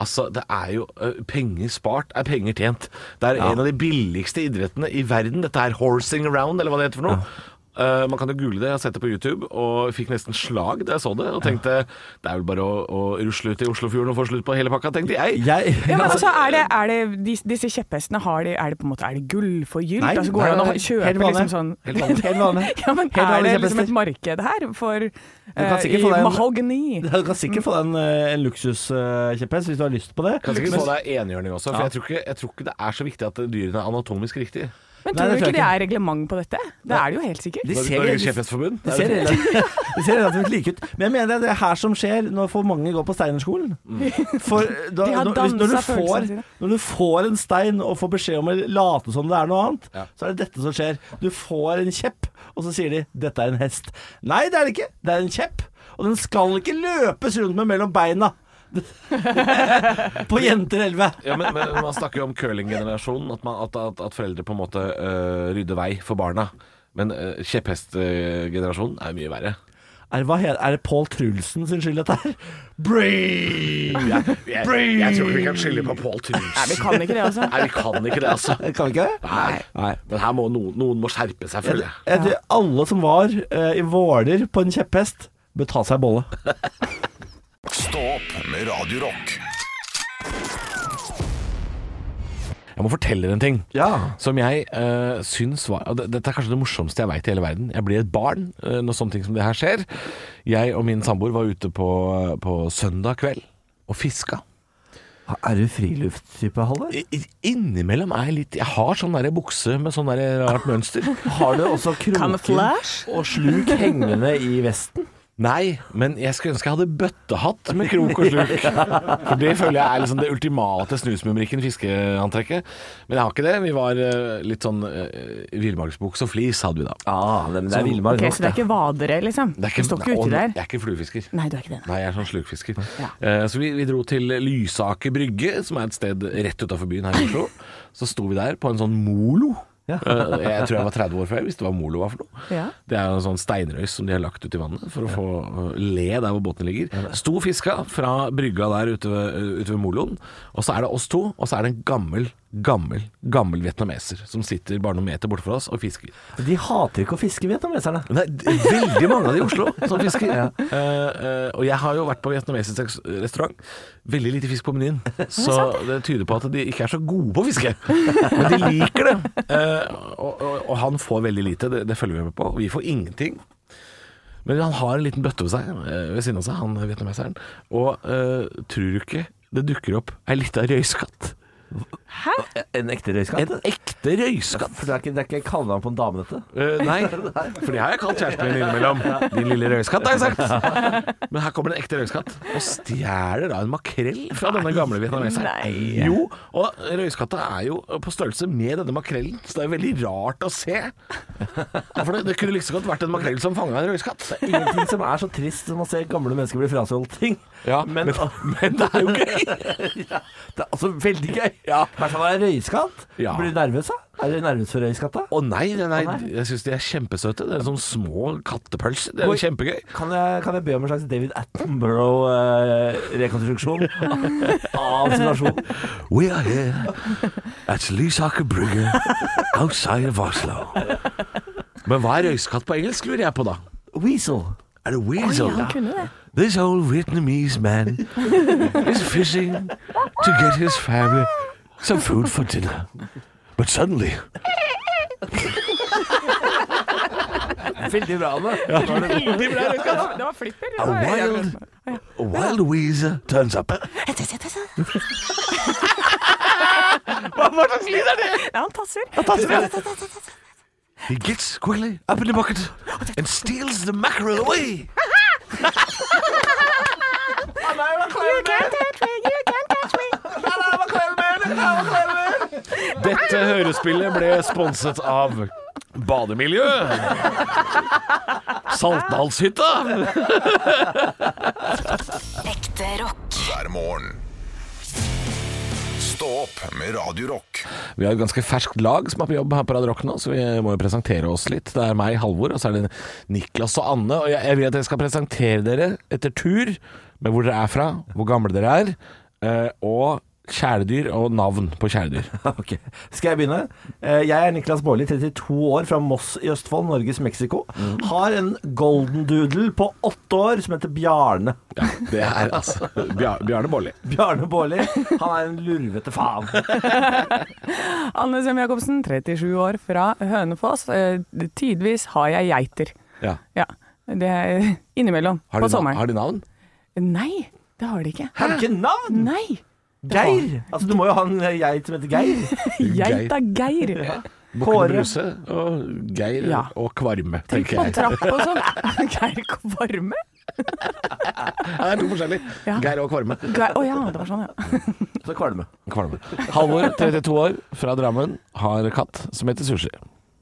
S4: Altså, det er jo eh, Penger spart er penger tjent. Det er en av de billigste idrettene i verden, dette her horsing around, eller hva det heter for noe. Eh, man kan jo google det. Jeg har sett det på YouTube og fikk nesten slag da jeg så det. Og tenkte det er vel bare å, å rusle ut i Oslofjorden og få slutt på hele pakka, tenkte jeg.
S3: Jeg
S5: Ja, men altså, er det,
S3: eh,
S5: er det de, Disse kjepphestene, har de, er det på en måte Er det gullforgylt?
S3: Nei,
S5: altså, går det an å
S3: nei,
S5: ha-
S3: nei,
S5: kjøpe
S3: helt vanlig.
S5: liksom sånn
S3: Helt vanlig. Helt vanlig.
S5: ja, men
S3: Helt vanlige
S5: Er det liksom
S3: kjepphester.
S5: et marked her for eh,
S3: sikkert
S5: i
S3: få deg en-
S5: mahogni?
S3: Du kan sikkert få deg en, eh, en luksuskjepphest hvis du har lyst på det.
S4: Kan sikkert
S3: Men-
S4: få deg enhjørning også, for jeg, tror ikke, jeg tror ikke det er så viktig at dyrene er anatomisk riktig.
S5: Men
S3: Nei,
S5: tror
S3: det
S5: du
S3: tror jeg
S5: ikke det
S3: ikke.
S5: er reglement på dette? Det er det jo helt sikkert.
S3: De ser
S4: Norges
S3: de-
S4: Kjefthetsforbund?
S3: De ser, relativt, de ser relativt like ut. Men jeg mener det er det her som skjer når for mange går på Steinerskolen. For da,
S5: Mm. De har
S3: når, hvis- når, du
S5: danset
S3: får,
S5: følelsene sine.
S3: når du får en stein og får beskjed om å late som det er noe annet,
S4: Ja.
S3: så er det dette som skjer. Du får en kjepp, og så sier de 'dette er en hest'. Nei, det er det ikke. Det er en kjepp. Og den skal ikke løpes rundt med mellom beina. på jenter 11.
S4: Ja, men, men man snakker jo om curlinggenerasjonen, at, man- at, at, at foreldre på en måte øh, rydder vei for barna. Men øh, kjepphestgenerasjonen er jo mye verre.
S3: Er, det- hva he- er det Pål Trulsen sin skyld, dette her? Breathe! Breathe!
S4: skylde på Pål
S5: Nei, vi
S4: Tusen.
S5: kan ikke det, altså.
S4: Nei, vi kan ikke det, altså.
S3: Kan vi ikke det?
S4: Nei.
S3: Nei.
S4: Men her må noen, noen må skjerpe seg,
S3: Jeg,
S4: føler jeg.
S3: jeg tror alle som var eh, i Våler på en kjepphest, bør ta seg en bolle.
S2: Stå opp med Radio Rock.
S4: Jeg må fortelle dere en ting.
S3: Ja.
S4: Som jeg eh, syns var og det- Dette er kanskje det morsomste jeg veit i hele verden. Jeg blir et barn eh, når sånne ting som det her skjer. Jeg og min samboer var ute på, på søndag kveld og fiska.
S3: Er du friluftstype, Halvor?
S4: I- i- Innimellom er jeg litt Jeg har sånn der bukse med sånn der rart mønster.
S3: Har du også kroker
S5: Camouflage?
S3: og sluk hengende i vesten?
S4: Nei, men jeg skulle ønske jeg hadde bøttehatt med krok og sluk. For det føler jeg er liksom det ultimate snusmumrikken, fiskeantrekket. Men jeg har ikke det. Vi var eh, litt sånn uh, villmarksbukse og flis hadde vi da.
S3: Ja, Ah, men det er
S5: Ok, så det er ikke vadere, liksom?
S4: Det er
S5: du står ikke uti
S4: Å,
S5: der?
S4: Jeg er ikke fluefisker.
S5: Nei, du er ikke det.
S4: Nei, jeg er sånn slukfisker.
S5: Ja.
S4: Eh, så vi, vi dro til Lysaker brygge, som er et sted rett utafor byen her i Oslo. Så sto vi der på en sånn molo.
S3: Ja.
S4: Eh, jeg tror jeg var 30 år før jeg visste hva molo var for noe.
S5: Ja.
S4: Det er jo en sånn steinrøys som de har lagt ut i vannet for å få eh, le der hvor båtene ligger. Sto fiska fra brygga der ute ved, eh, ute ved moloen, og så er det oss to, og så er det en gammel, gammel, gammel vietnameser som sitter bare noen meter borte fra oss og fisker.
S3: De hater ikke å fiske, vietnameserne.
S4: Nei, d- veldig mange av de i Oslo som fisker. Eh, eh, og jeg har jo vært på vietnamesisk reks- restaurant. Veldig lite fisk på menyen. Så det tyder på at de ikke er så gode på å fiske. Men de liker det. Eh, og, og, og han får veldig lite, det, det følger vi med på. Og vi får ingenting. Men han har en liten bøtte ved seg, eh, ved siden av seg, han vietnameseren. Og eh, tror du ikke det dukker opp ei lita røyskatt?
S3: En ekte røyskatt?
S4: En ekte røyskatt!
S3: For det er ikke, det er ikke kallenavn på en dame, dette?
S4: Eh, nei, for de har jeg kalt kjæresten min innimellom. Din lille røyskatt, har jeg sagt. Men her kommer det en ekte røyskatt og stjeler da en makrell fra denne gamle vietnameseren.
S5: Nei.
S4: Jo, og røyskatta er jo på størrelse med denne makrellen, så det er veldig rart å se. For det, det kunne like så godt vært en makrell som fanga en røyskatt.
S3: Ingenting som er så trist som å se gamle mennesker bli frasolgt ting.
S4: Ja,
S3: men,
S4: men, men det er jo gøy.
S3: det er altså veldig gøy.
S4: Ja.
S3: I hvert fall er det røyskatt.
S4: Ja.
S3: Blir du nervøs, da? Er du nervøs for røyskatta?
S4: Å nei, nei, nei, jeg syns de er kjempesøte. Det er sånne små kattepølser. Det er jo kjempegøy.
S3: Kan jeg, kan jeg be om en slags David Attenborough-rekonstruksjon av situasjonen?
S4: We are here at Lysaker Brygge outside of Oslo. Men hva er røyskatt på engelsk, lurer jeg på da?
S3: Weasel.
S4: Er det weasel?
S5: Han kunne det.
S4: This old Vietnamese man is fishing to get his family some food for dinner. But suddenly
S3: Veldig bra, Anne.
S5: Det var flipper. det
S4: a
S5: var-
S4: wild, a wild weasel turns up.
S5: Ja, han tasser.
S4: He gets quickly up in the bucket and steals the mackerel away. Dette hørespillet ble sponset av Bademiljø. Saltdalshytta.
S1: Ekte rock.
S2: hver morgen. Stå opp med Radio Rock.
S4: Vi har et ganske ferskt lag som er på jobb her på Radio Rock nå, så vi må jo presentere oss litt. Det er meg, Halvor, og så er det Niklas og Anne. Og jeg, jeg vil at dere skal presentere dere etter tur med hvor dere er fra, hvor gamle dere er, eh, og kjæledyr og navn på kjæledyr.
S3: Ok, Skal jeg begynne? Eh, Jeg er Niklas Baarli, 32 år, fra Moss i Østfold, Norges Mexico. Har en golden doodle på åtte år som heter Bjarne.
S4: Ja, det er altså Bjarne Bolli.
S3: Bjarne Baarli. Han er en lurvete faen.
S5: Anne Sem Jacobsen, 37 år, fra Hønefoss. Eh, Tidvis har jeg geiter.
S4: Ja.
S5: Ja. Det er innimellom.
S4: Har
S5: På
S4: de, na-
S5: sommeren.
S4: har de navn?
S5: Nei, det har de ikke.
S3: Har du ikke navn?
S5: Nei!
S3: Geir. Altså, du må jo ha en eh, geit som heter Geir.
S5: Geita Geir.
S4: Bukkene
S5: Kåre.
S4: Bruse og Geir
S5: Ja.
S4: og Kvarme,
S5: Tenk
S4: tenker
S5: på
S4: jeg.
S5: trapp og sånn. Geir Kvarme?
S4: Ja, det er to forskjellige.
S5: Ja.
S4: Geir og Kvarme.
S5: Geir- Å ja, det var sånn, ja.
S3: Så kvalme.
S4: Kvalme. Halvor, 32 år, fra Drammen, har katt som heter Sushi.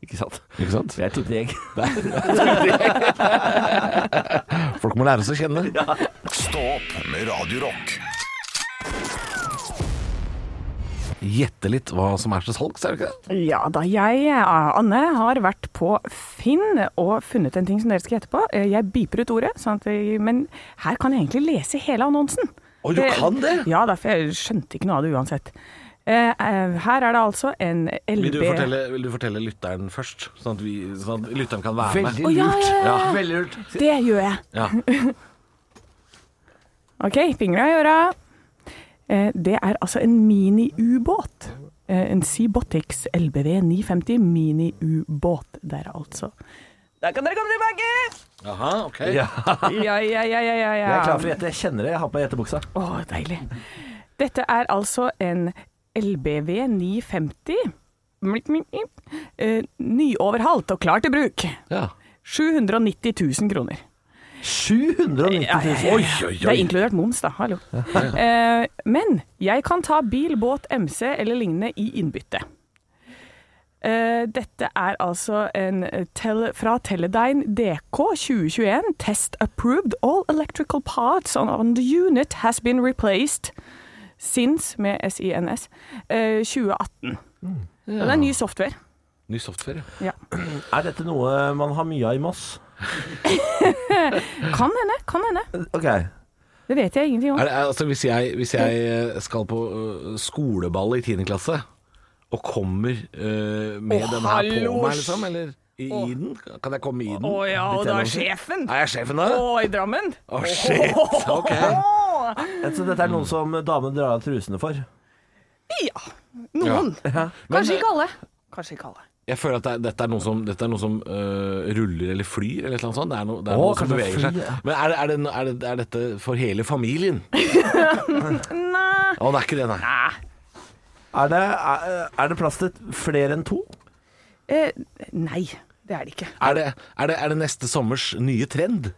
S3: Ikke sant.
S4: Ikke sant?
S3: Jeg tippet jeg.
S4: Folk må lære oss å kjenne.
S2: Stå opp med Radio Rock.
S4: Gjette litt hva som er til salgs, er det ikke det?
S5: Ja da, jeg, eh, Anne, har vært på Finn og funnet en ting som dere skal gjette på. Eh, Jeg biper ut ordet, sånn at vi, men her kan jeg egentlig lese hele annonsen. Eh,
S4: Å, du kan det?
S5: Ja da, for jeg skjønte ikke noe av det uansett. Eh, eh, Her er det altså en LB...
S4: Vil du fortelle, vil du fortelle lytteren først, sånn at, vi, sånn at lytteren kan være med?
S3: Veldig
S5: Å, ja,
S3: lurt.
S5: ja, ja.
S3: Veldig lurt.
S5: Det gjør jeg.
S4: Ja.
S5: Ok, fingra i øra. Eh, Det er altså en mini-ubåt. Eh, En Seabotics LBV 950 mini-ubåt der, altså. Da kan dere komme tilbake!
S4: Jaha, ok.
S3: Ja.
S5: Ja, ja, ja, ja, ja. ja.
S3: Jeg er klar for å gjette. Jeg kjenner det. Jeg har på meg gjettebuksa.
S5: Å, deilig. Dette er altså en LBV 950. Mlik, mlik, mlik. Eh, Nyoverhalt og klar til bruk.
S4: Ja.
S5: 790 000 kroner.
S3: 790
S5: Ja, ja,
S3: 000.
S5: ja.
S4: Oi, oi,
S5: Det
S4: oi.
S5: er inkludert moms, da. Hallo. Eh, men jeg kan ta bil, båt, MC eller lignende i innbytte. Eh, dette er altså en tele, fra Teledyne DK 2021. Test approved. All electrical parts on, on the unit has been replaced. SINS, med SINS, eh, 2018. Og det er ny software.
S4: Ny software. ja.
S5: Ja.
S3: Er dette noe man har mye av i Moss?
S5: Kan hende, kan hende.
S3: Ok.
S5: Det vet jeg ingenting om.
S4: Er det, er- altså, hvis, jeg, hvis jeg eh, skal på eh, skoleball i 10. klasse, og kommer eh, med
S5: Å,
S4: den her på
S5: hallo,
S4: meg, liksom, eller i, i den? Kan jeg komme i den?
S5: ja,
S3: og da er
S5: sjefen!
S4: Er jeg sjefen da?
S5: Å, i Drammen!
S4: Å, shit. Ok.
S3: Så dette er noe som damen drar av trusene for?
S5: Ja. Noen. Kanskje ikke alle. eh, Kanskje ikke alle.
S4: Jeg føler at det, er- dette er noe som, dette er noe som øh, ruller eller flyr eller et eller annet sånt. Det er noe, det er
S3: Å,
S4: noe som
S3: kanskje
S4: beveger
S3: fly,
S4: seg.
S3: ja.
S4: Men er, det- er, det, no- er, det, er dette for hele familien? Å,
S5: Nei.
S4: det er ikke det, nei.
S3: Er det, er, er det plass til flere enn to?
S5: Eh, nei, det er det ikke.
S4: Er det, er det, er det neste sommers nye trend?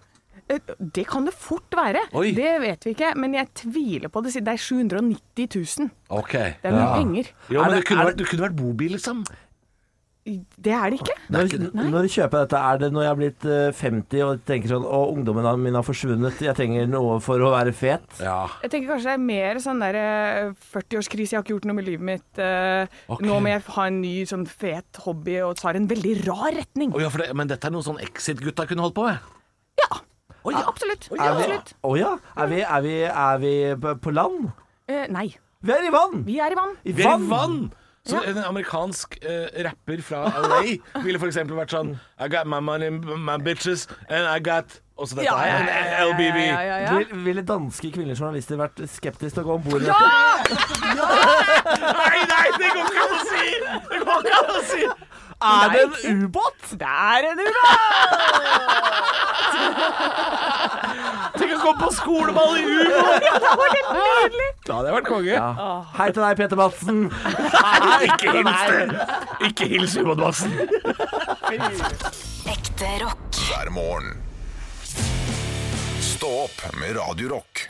S5: Eh, det kan det fort være.
S4: Oi.
S5: Det vet vi ikke, men jeg tviler på det. siden Det er 790 000.
S4: Ok.
S5: Det er mye
S3: Ja.
S5: penger.
S4: Jo,
S3: Er
S4: men det,
S3: det-
S4: kunne
S3: er
S4: vært, det kunne vært bobil, liksom.
S5: Det er det ikke.
S4: Det er ikke
S3: Når, når du kjøper dette, er det når jeg har blitt eh, 50 og tenker sånn Å, ungdommen min har forsvunnet, jeg trenger noe for å være fet.
S4: Ja.
S5: Jeg tenker kanskje det er mer sånn der eh, 40-årskrise, jeg har ikke gjort noe med livet mitt. eh,
S4: Ok.
S5: Nå må jeg ha en ny sånn fet hobby og tar en veldig rar retning.
S4: Å, ja for det, men dette er noe sånn Exit-gutta kunne holdt på med.
S5: Ja. absolutt.
S3: Er vi,
S5: absolutt.
S3: Å ja. Er vi, er vi, er vi på- på land?
S5: Eh, nei,
S3: Vi er i vann!
S5: vi er i vann.
S3: I
S4: Vi er i vann! Så
S5: Ja.
S4: en amerikansk eh, rapper fra LA ville for eksempel vært sånn I got my money, my bitches, and I got Også dette
S5: Ja,
S4: her,
S5: ja, ja,
S4: en LBV.
S5: ja, ja, ja.
S3: Vil- Ville danske kvinnelige journalister vært skeptiske til å gå om bord i
S5: Ja!
S3: dette?
S4: Nei, nei, det går ikke an å si! Det går ikke an å si!
S3: Er det en ubåt?
S5: Det er en ubåt!
S4: Tenk å gå på skoleball i ubåt!
S5: Nydelig!
S4: Da hadde jeg vært konge.
S3: Hei til deg, Peter Madsen.
S4: Nei, ikke hils det! Ikke hils ubåtbassen.
S1: Ekte rock.
S2: hver morgen. Stå opp med Radio Rock.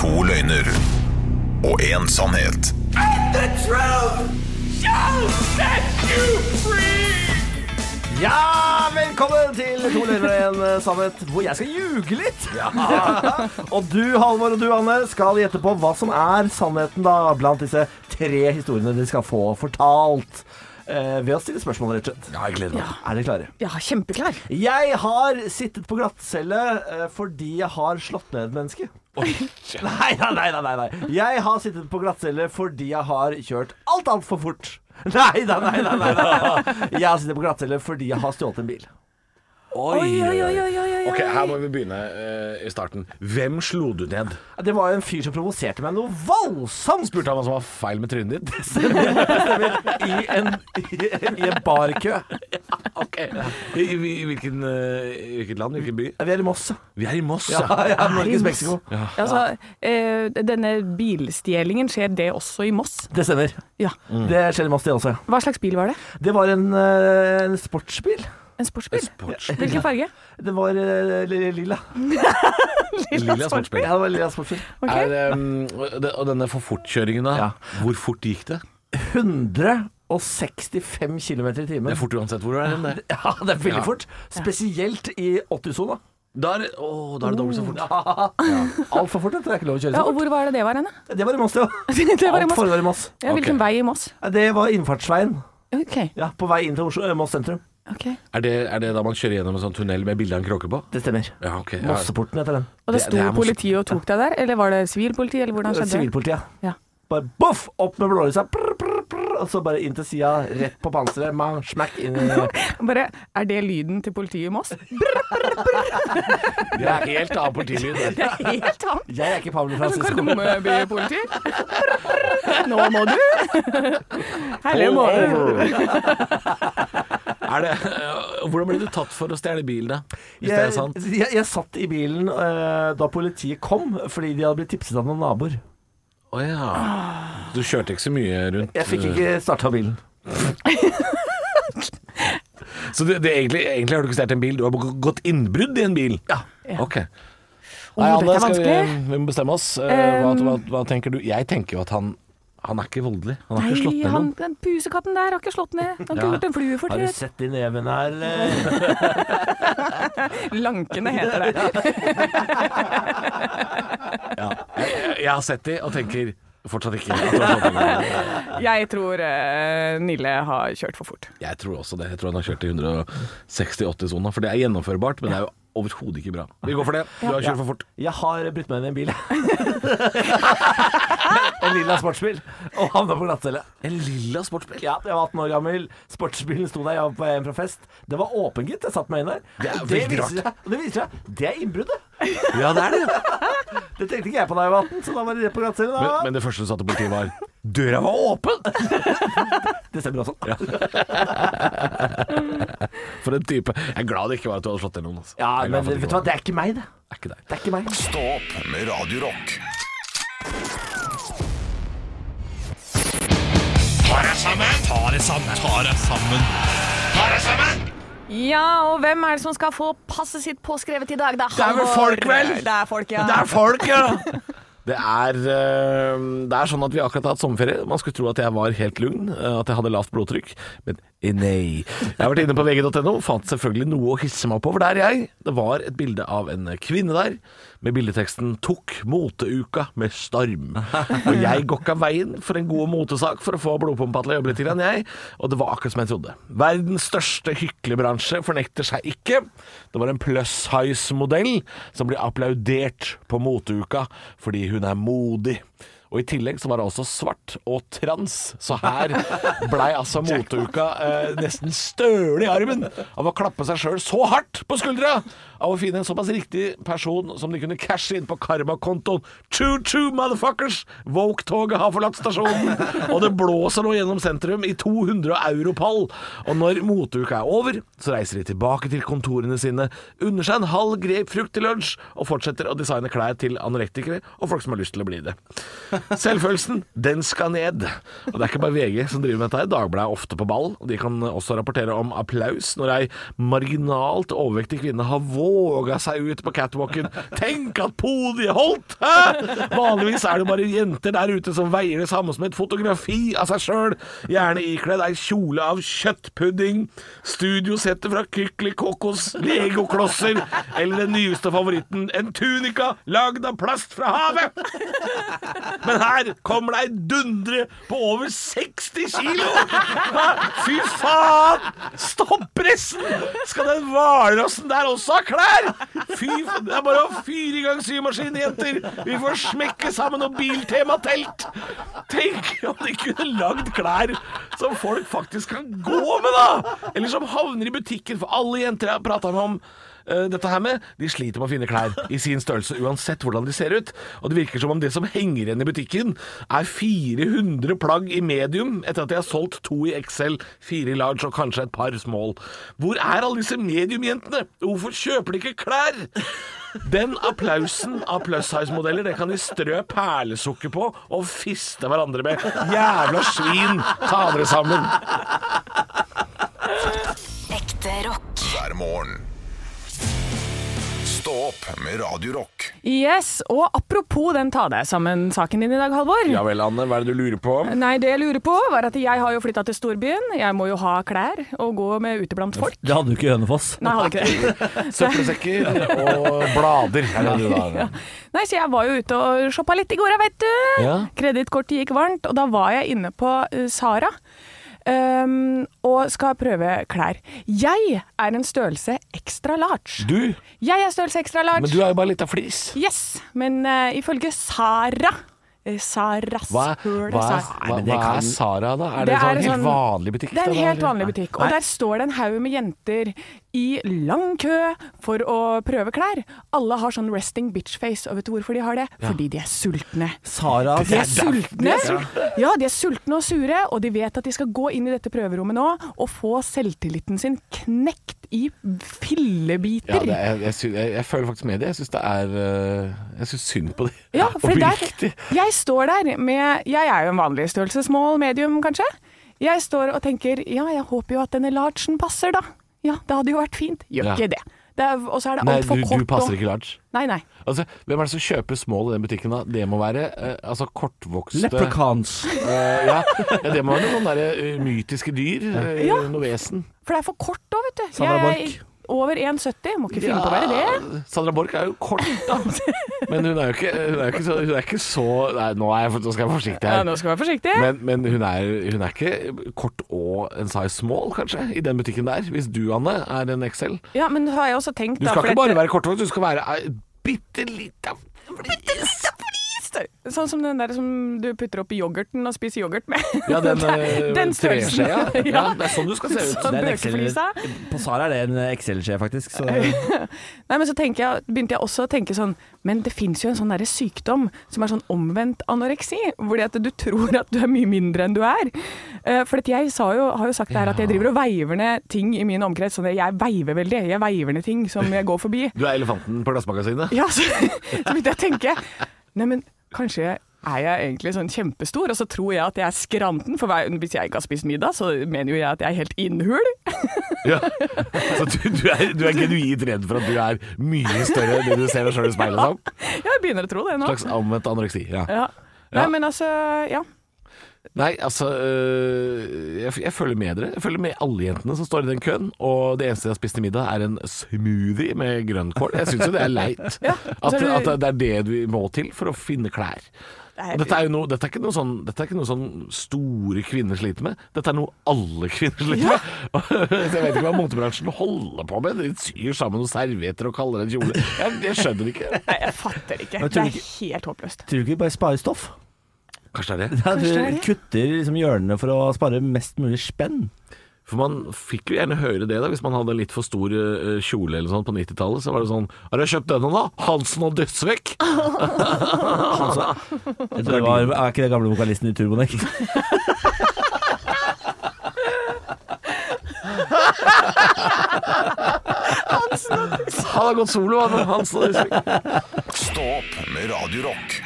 S2: To løgner og én sannhet.
S3: Ja, velkommen til To løgner og en eh, sannhet, hvor jeg skal ljuge litt. og du, Halvor og du, Anne, skal gjette på hva som er sannheten da blant disse tre historiene dere skal få fortalt. eh, ved å stille spørsmål, rett og slett.
S4: Ja, jeg gleder meg.
S3: Er dere klare?
S5: Ja, kjempeklar.
S3: Jeg har sittet på glattcelle eh, fordi jeg har slått ned et menneske. Nei, nei, nei, nei, nei, nei. Jeg har sittet på glattcelle fordi jeg har kjørt alt altfor fort. Nei, nei, nei, nei, nei, nei. Jeg har sittet på glattcelle fordi jeg har stjålet en bil.
S5: Oi, oi, oi, oi, oi, oi.
S4: Ok, her må vi begynne eh, i starten. Hvem slo du ned?
S3: Det var en fyr som provoserte meg noe voldsomt!
S4: Spurte han hva som var feil med trynet ditt?
S3: I en, i en, i en barkø.
S4: ok. I, i, i, hvilken, eh, I hvilket land? Hvilken by?
S3: Ja, Vi er i Moss.
S4: Vi er i Moss,
S3: Ja, ja, Norges Mexico.
S5: Altså, eh, denne bilstjelingen, skjer det også i Moss?
S3: Det stemmer.
S5: Ja.
S3: Det skjer i Moss, det også.
S5: Hva slags bil var det?
S3: Det var en, eh, en sportsbil.
S5: En sportsbil?
S4: Sportsbil.
S5: Hvilken farge?
S3: Det var eh, li- lilla.
S4: Lilla sportsbil.
S3: Ja, det var lilla sportsbil.
S5: Ok.
S4: Er, um, det, og denne for fortkjøringen, da.
S3: Ja.
S4: Hvor fort gikk det?
S3: 165 km i
S4: Det er
S3: timen.
S4: fort uansett hvor du er. hen, det.
S3: Ja, det er veldig
S4: Ja.
S3: fort. Spesielt i 80-sona.
S4: Da er, det- å, da er det dobbelt så fort.
S3: Altfor fort, vet du. det er ikke lov å kjøre
S5: Ja,
S3: så
S5: og hvor var det det var henne?
S3: fort. Det var i Moss, det òg.
S5: det var i
S3: Alt
S5: Moss.
S3: foregår i Moss.
S5: Ja, hvilken
S4: Ok.
S5: vei i Moss?
S3: Ja, Det var innfartsveien.
S5: Ok.
S3: Ja, På vei inn til Oslo, eh, Moss sentrum.
S5: ok.
S4: Er, det, er det da man kjører gjennom en sånn tunnel med bilde av en kråke på?
S3: Det stemmer.
S4: Ja, ok. Ja.
S3: Mosseporten heter den.
S5: Og det
S4: Det-
S5: sto
S4: det er Moss.
S5: politiet og tok deg der, eller var det sivilpoliti, eller hvordan skjedde det?
S3: Sivilpolitiet.
S5: Ja.
S3: Bare boff, opp med blålysa, prr, prr, prr, og så bare inn til sida, rett på panseret, mang, smack inn i
S5: Bare, er det lyden til politiet i Moss?
S4: Det er helt annen politilyd.
S5: Det er helt vanlig.
S3: Jeg er ikke Pablo
S5: Det er sånn
S3: Francisco.
S5: Kardemommeby-politi. Nå må du! Herlig
S4: Pull
S5: morgen.
S4: over. Er det, øh, hvordan ble du tatt for å stjele bilen, da? Hvis det er sant?
S3: Jeg, jeg, jeg satt i bilen eh, da politiet kom, fordi de hadde blitt tipset av noen naboer.
S4: Å ja. Du kjørte ikke så mye rundt?
S3: Jeg fikk ikke starta bilen.
S4: Så du, det, egentlig, egentlig har du ikke stjålet en bil, du har bare gått innbrudd i en bil? Ja. Ok. Nei,
S5: Åh,
S4: Anne,
S5: dette er
S4: skal vi,
S5: vanskelig. Um,
S4: vi må bestemme oss. Eh, hva, hva, hva tenker du? Jeg tenker jo at han Han er ikke voldelig. Han har ikke slått
S5: Nei,
S4: ned
S5: han,
S4: noen.
S5: den pusekatten der har ikke slått ned. Han har ikke
S4: Ja.
S5: gjort en flue for
S3: Har du
S5: det.
S3: sett de nevene her, eller?
S5: Lankene heter det.
S4: Jeg, jeg har sett de og tenker fortsatt ikke. at han har slått ned noen.
S5: Jeg tror eh, Nille har kjørt for fort.
S4: Jeg tror også det. Jeg tror han har kjørt i 160-80-sona. For det er gjennomførbart, men det er jo overhodet ikke bra. Vi går for det. Du har kjørt for fort.
S3: Jeg har brutt meg inn i en bil. en lilla sportsbil. Og havna på glattcelle.
S4: En lilla sportsbil.
S3: Ja, jeg var 18 år gammel. Sportsbilen sto der, jeg var på vei hjem fra fest. Det var åpen, gitt. Jeg satt meg inn der.
S4: Det er
S3: Og
S4: veldig
S3: viser
S4: rart.
S3: seg- og det viser seg det er innbruddet.
S4: Ja, det er det.
S3: Det tenkte ikke jeg på da jeg var 18, så da var det rett på glattcelle.
S4: Men,
S3: da.
S4: men det første du sa til politiet, var Døra var åpen!
S3: Det stemmer også.
S4: For en type. Jeg er glad det ikke var at du hadde slått ned noen. Altså.
S3: Ja,
S4: Jeg er glad
S3: men
S4: for at
S3: vet du
S4: det ikke
S3: hva, det er ikke meg, det.
S4: var- er ikke deg.
S3: Det er ikke meg.
S2: Stå opp med Radio Rock. Ta deg sammen! Ta deg sammen! Ta deg sammen! Ta deg sammen!
S5: Ja, og hvem er det som skal få passet sitt påskrevet i dag? Det er,
S4: er vel
S5: Halvor.
S4: folk, vel?
S5: Det er folk, ja.
S4: folk, ja! Det er, eh, det er sånn at vi akkurat har hatt sommerferie. Man skulle tro at jeg var helt lugn, eh, at jeg hadde lavt blodtrykk, men eh, nei. Jeg har vært inne på vg.no, fant selvfølgelig noe å hisse meg på, for der jeg. Det var et bilde av en kvinne der, med bildeteksten 'Tok moteuka med storm'. Og jeg går ikke av veien for en god motesak for å få blodpumpa til å jobbe litt, grann, jeg. Og det var akkurat som jeg trodde. Verdens største hyklebransje fornekter seg ikke. Det var en pluss-size-modell som ble applaudert på moteuka fordi hun er modig. Og I tillegg så var det også svart og trans, så her blei altså moteuka eh, nesten støle i armen av å klappe seg sjøl så hardt på skuldra av å finne en såpass riktig person som de kunne cashe inn på karmakontoen. Choo-choo, motherfuckers! Woke-toget har forlatt stasjonen, og det blåser nå gjennom sentrum i 200 europall. Og når moteuka er over, så reiser de tilbake til kontorene sine, unner seg en halv grapefrukt til lunsj, og fortsetter å designe klær til anorektikere og folk som har lyst til å bli det. Selvfølelsen, den skal ned. Og det er ikke bare VG som driver med dette. her. Dagbladet er ofte på ball, og de kan også rapportere om applaus når ei marginalt overvektig kvinne har våga seg ut på catwalken. Tenk at podiet holdt! Hæ? Vanligvis er det jo bare jenter der ute som veier det samme som et fotografi av seg sjøl, gjerne ikledd ei kjole av kjøttpudding, studiosettet fra Kykelikokos, legoklosser eller den nyeste favoritten, en tunika lagd av plast fra havet. Men her kommer det ei dundre på over 60 kilo! Fy faen! Stopp pressen! Skal den hvalrossen der også ha var der! Fy, f- det er bare å fyre i gang symaskinen, jenter! Vi får smekke sammen noe biltematelt! Tenk om de kunne lagd klær som folk faktisk kan gå med, da! Eller som havner i butikken, for alle jenter jeg har prata med om eh, dette her med, De sliter med å finne klær i sin størrelse, uansett hvordan de ser ut. Og det virker som om det som henger igjen i butikken, er 400 plagg i medium, etter at de har solgt to i XL, fire i large og kanskje et par small. Hvor er alle disse mediumjentene? Hvorfor kjøper de ikke klær? Den applausen av plussize-modeller, det kan de strø perlesukker på og fiste hverandre med. Jævla svin! Ta dere sammen!
S1: Ekte rock.
S6: hver morgen. Stå opp med Radio Rock.
S5: Yes, og apropos den ta deg sammen-saken din i dag, Halvor.
S4: Ja vel, Anne, hva er det du lurer på?
S5: Nei, det jeg lurer på var at jeg har jo flytta til storbyen. Jeg må jo ha klær og gå med ute blant folk.
S3: Det hadde du ikke i Hønefoss.
S5: Nei, jeg hadde ikke det.
S4: Søppelsekker og blader. Er det det du har?
S5: Nei, så jeg var jo ute og shoppa litt i går, vet du.
S4: Ja.
S5: Kredittkortet gikk varmt, og da var jeg inne på eh, Sara. ehm, og skal prøve klær. Jeg er en størrelse extra large.
S4: Du?
S5: Jeg er størrelse extra large.
S4: Men du er jo bare litt av flis.
S5: Yes, men eh, ifølge Sara eh, Saras
S4: Hva,
S5: høl
S4: hva,
S5: Sara.
S4: hva, hva er Sara, da? Er det, en sånn
S5: Det er
S4: helt
S5: sånn-
S4: vanlig butikk?
S5: Det er
S4: da,
S5: en
S4: da,
S5: helt
S4: eller?
S5: vanlig butikk. Og der står det en haug med jenter i lang kø for å prøve klær. Alle har sånn resting bitch face, og vet du hvorfor de har det? Fordi de er sultne.
S3: Sara
S5: De er sultne! Ja, de er sultne og sure, og de vet at de skal gå inn i dette prøverommet nå og få selvtilliten sin knekt i
S4: Ja,
S5: fillebiter.
S4: det er, jeg, sy- jeg, jeg føler faktisk med det. Jeg syns det er øh, Jeg syns synd på det.
S5: Ja,
S4: Og
S5: for der,
S4: oppriktig.
S5: jeg står der med Jeg er jo en vanlig størrelse, small, medium kanskje. Jeg står og tenker ja, jeg håper jo at denne largen passer, da. Ja, det hadde jo vært fint. Gjør
S4: Ja.
S5: ikke det. det er, og så er det
S4: Nei,
S5: altfor
S4: du,
S5: kort.
S4: du passer
S5: og-
S4: ikke large.
S5: Nei, nei.
S4: Altså, hvem er det som kjøper small i den butikken, da? Det må være øh, altså kortvokste
S3: Leprechauns.
S4: Øh, ja. ja, det må være noen sånne der, øh, mytiske dyr. øh,
S5: Ja.
S4: Noe vesen.
S5: For det er for kort òg, vet du.
S3: Sandra
S5: Jeg er over 1,70. Må ikke finne på å være det.
S4: Sandra Borch er jo kort, da. Men hun er jo ikke, hun er jo ikke, så, hun er ikke så Nei, nå, er jeg, nå skal jeg være forsiktig her.
S5: Ja, nå skal vi være forsiktig.
S4: Men, men hun, er, hun er ikke kort og en size small, kanskje, i den butikken der. Hvis du, Anne, er en XL.
S5: Ja, men har jeg også tenkt
S4: Du
S5: da,
S4: skal
S5: for
S4: ikke
S5: dette-
S4: bare være kortvokst, du skal være ei bitte lita
S5: Sånn som den der som du putter oppi yoghurten og spiser yoghurt med.
S4: Ja, den,
S5: Den- den
S4: den
S5: størrelsen.
S4: treskjea. Ja,
S5: Ja.
S4: det er sånn du skal se ut.
S5: Sånn
S3: Det er en Excel-
S5: bøkeflisa.
S3: På Sara er det en Excel-skje, faktisk. Så
S5: Nei, men så tenker jeg, begynte jeg også å tenke sånn Men det fins jo en sånn derre sykdom som er sånn omvendt anoreksi. Hvor det at du tror at du er mye mindre enn du er. Eh, For at jeg sa jo, har jo sagt det her at jeg driver og veiver ned ting i min omkrets. Sånn at jeg veiver veldig. Jeg veiver ned ting som jeg går forbi.
S4: Du er elefanten på glassmagasinet.
S5: Ja, så, så begynte jeg å tenke Neimen, kanskje er jeg egentlig sånn kjempestor, og så tror jeg at jeg er skranten. For hver, hvis jeg ikke har spist middag, så mener jo jeg at jeg er helt innhul.
S4: Ja. Så du, du, er, du er genuint redd for at du er mye større enn det du ser deg sjøl i speilet som?
S5: Jeg begynner å tro det nå.
S4: Slags omvendt anoreksi. Ja.
S5: Ja.
S4: Ja.
S5: Nei, men altså, ja.
S4: Nei, altså øh, jeg, jeg følger med dere. Jeg følger med alle jentene som står i den køen. Og det eneste jeg har spist til middag, er en smoothie med grønnkål. Jeg syns jo det er leit.
S5: Ja,
S4: at,
S5: så er du-
S4: at det er det du må til for å finne klær.
S5: Det er-
S4: Og dette er jo noe, dette er ikke noe sånn, dette er ikke noe sånn store kvinner sliter med. Dette er noe alle kvinner sliter med. Så jeg vet ikke hva motebransjen holder på med. De syr sammen noen servietter og kaller det en kjole. Jeg, jeg skjønner ikke.
S5: Nei, jeg fatter ikke.
S3: Men
S5: Det
S3: tror
S5: er
S3: du
S5: helt håpløst.
S3: tror du ikke vi bare sparer stoff?
S4: Kanskje det er det.
S3: Ja, du
S5: Kanskje det er det.
S3: kutter liksom hjørnene for å spare mest mulig spenn.
S4: For man fikk jo gjerne høre det da Hvis man hadde litt for stor eh, kjole eller sånn på 90-tallet Så var det sånn Har du kjøpt denne da? Hansen og Dødsvekk
S3: Jeg tror det var, er ikke det gamle vokalisten i Turbonek?
S4: Han har gått solo han, Hansen og Dødsvekk
S6: Stå opp med Radio Rock.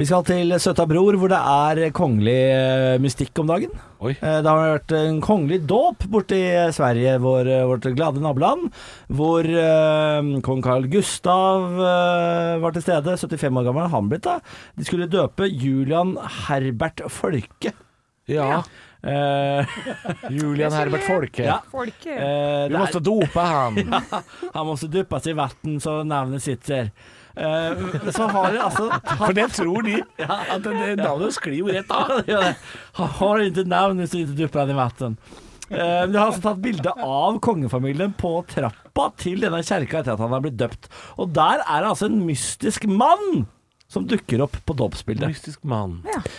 S3: Vi skal til Søta Bror, hvor det er kongelig eh, mystikk om dagen.
S4: Oi.
S3: Eh, Det har vært en kongelig dåp borte i Sverige, vår, eh, vårt glade naboland, hvor eh, kong Carl Gustav eh, var til stede. 75 år gammel er han blitt, da. De skulle døpe Julian Herbert Folke.
S4: Ja,
S3: Eh,
S4: Julian Herbert Folke
S3: ja.
S5: Folket.
S3: eh, det
S4: Vi
S3: er-
S4: måtte dope han
S3: Han måtte dyppes i vann så navnet sitter. Eh, så har det altså
S4: For det tror de At det, det navnet sklir jo rett av
S3: Han har inte namn så inte dyppar han i vatten. Eh, men de har altså tatt bilde av kongefamilien på trappa til denne kjerka etter at han er blitt døpt. Og der er det altså en mystisk mann som dukker opp på dåpsbildet.
S4: Mystisk mann.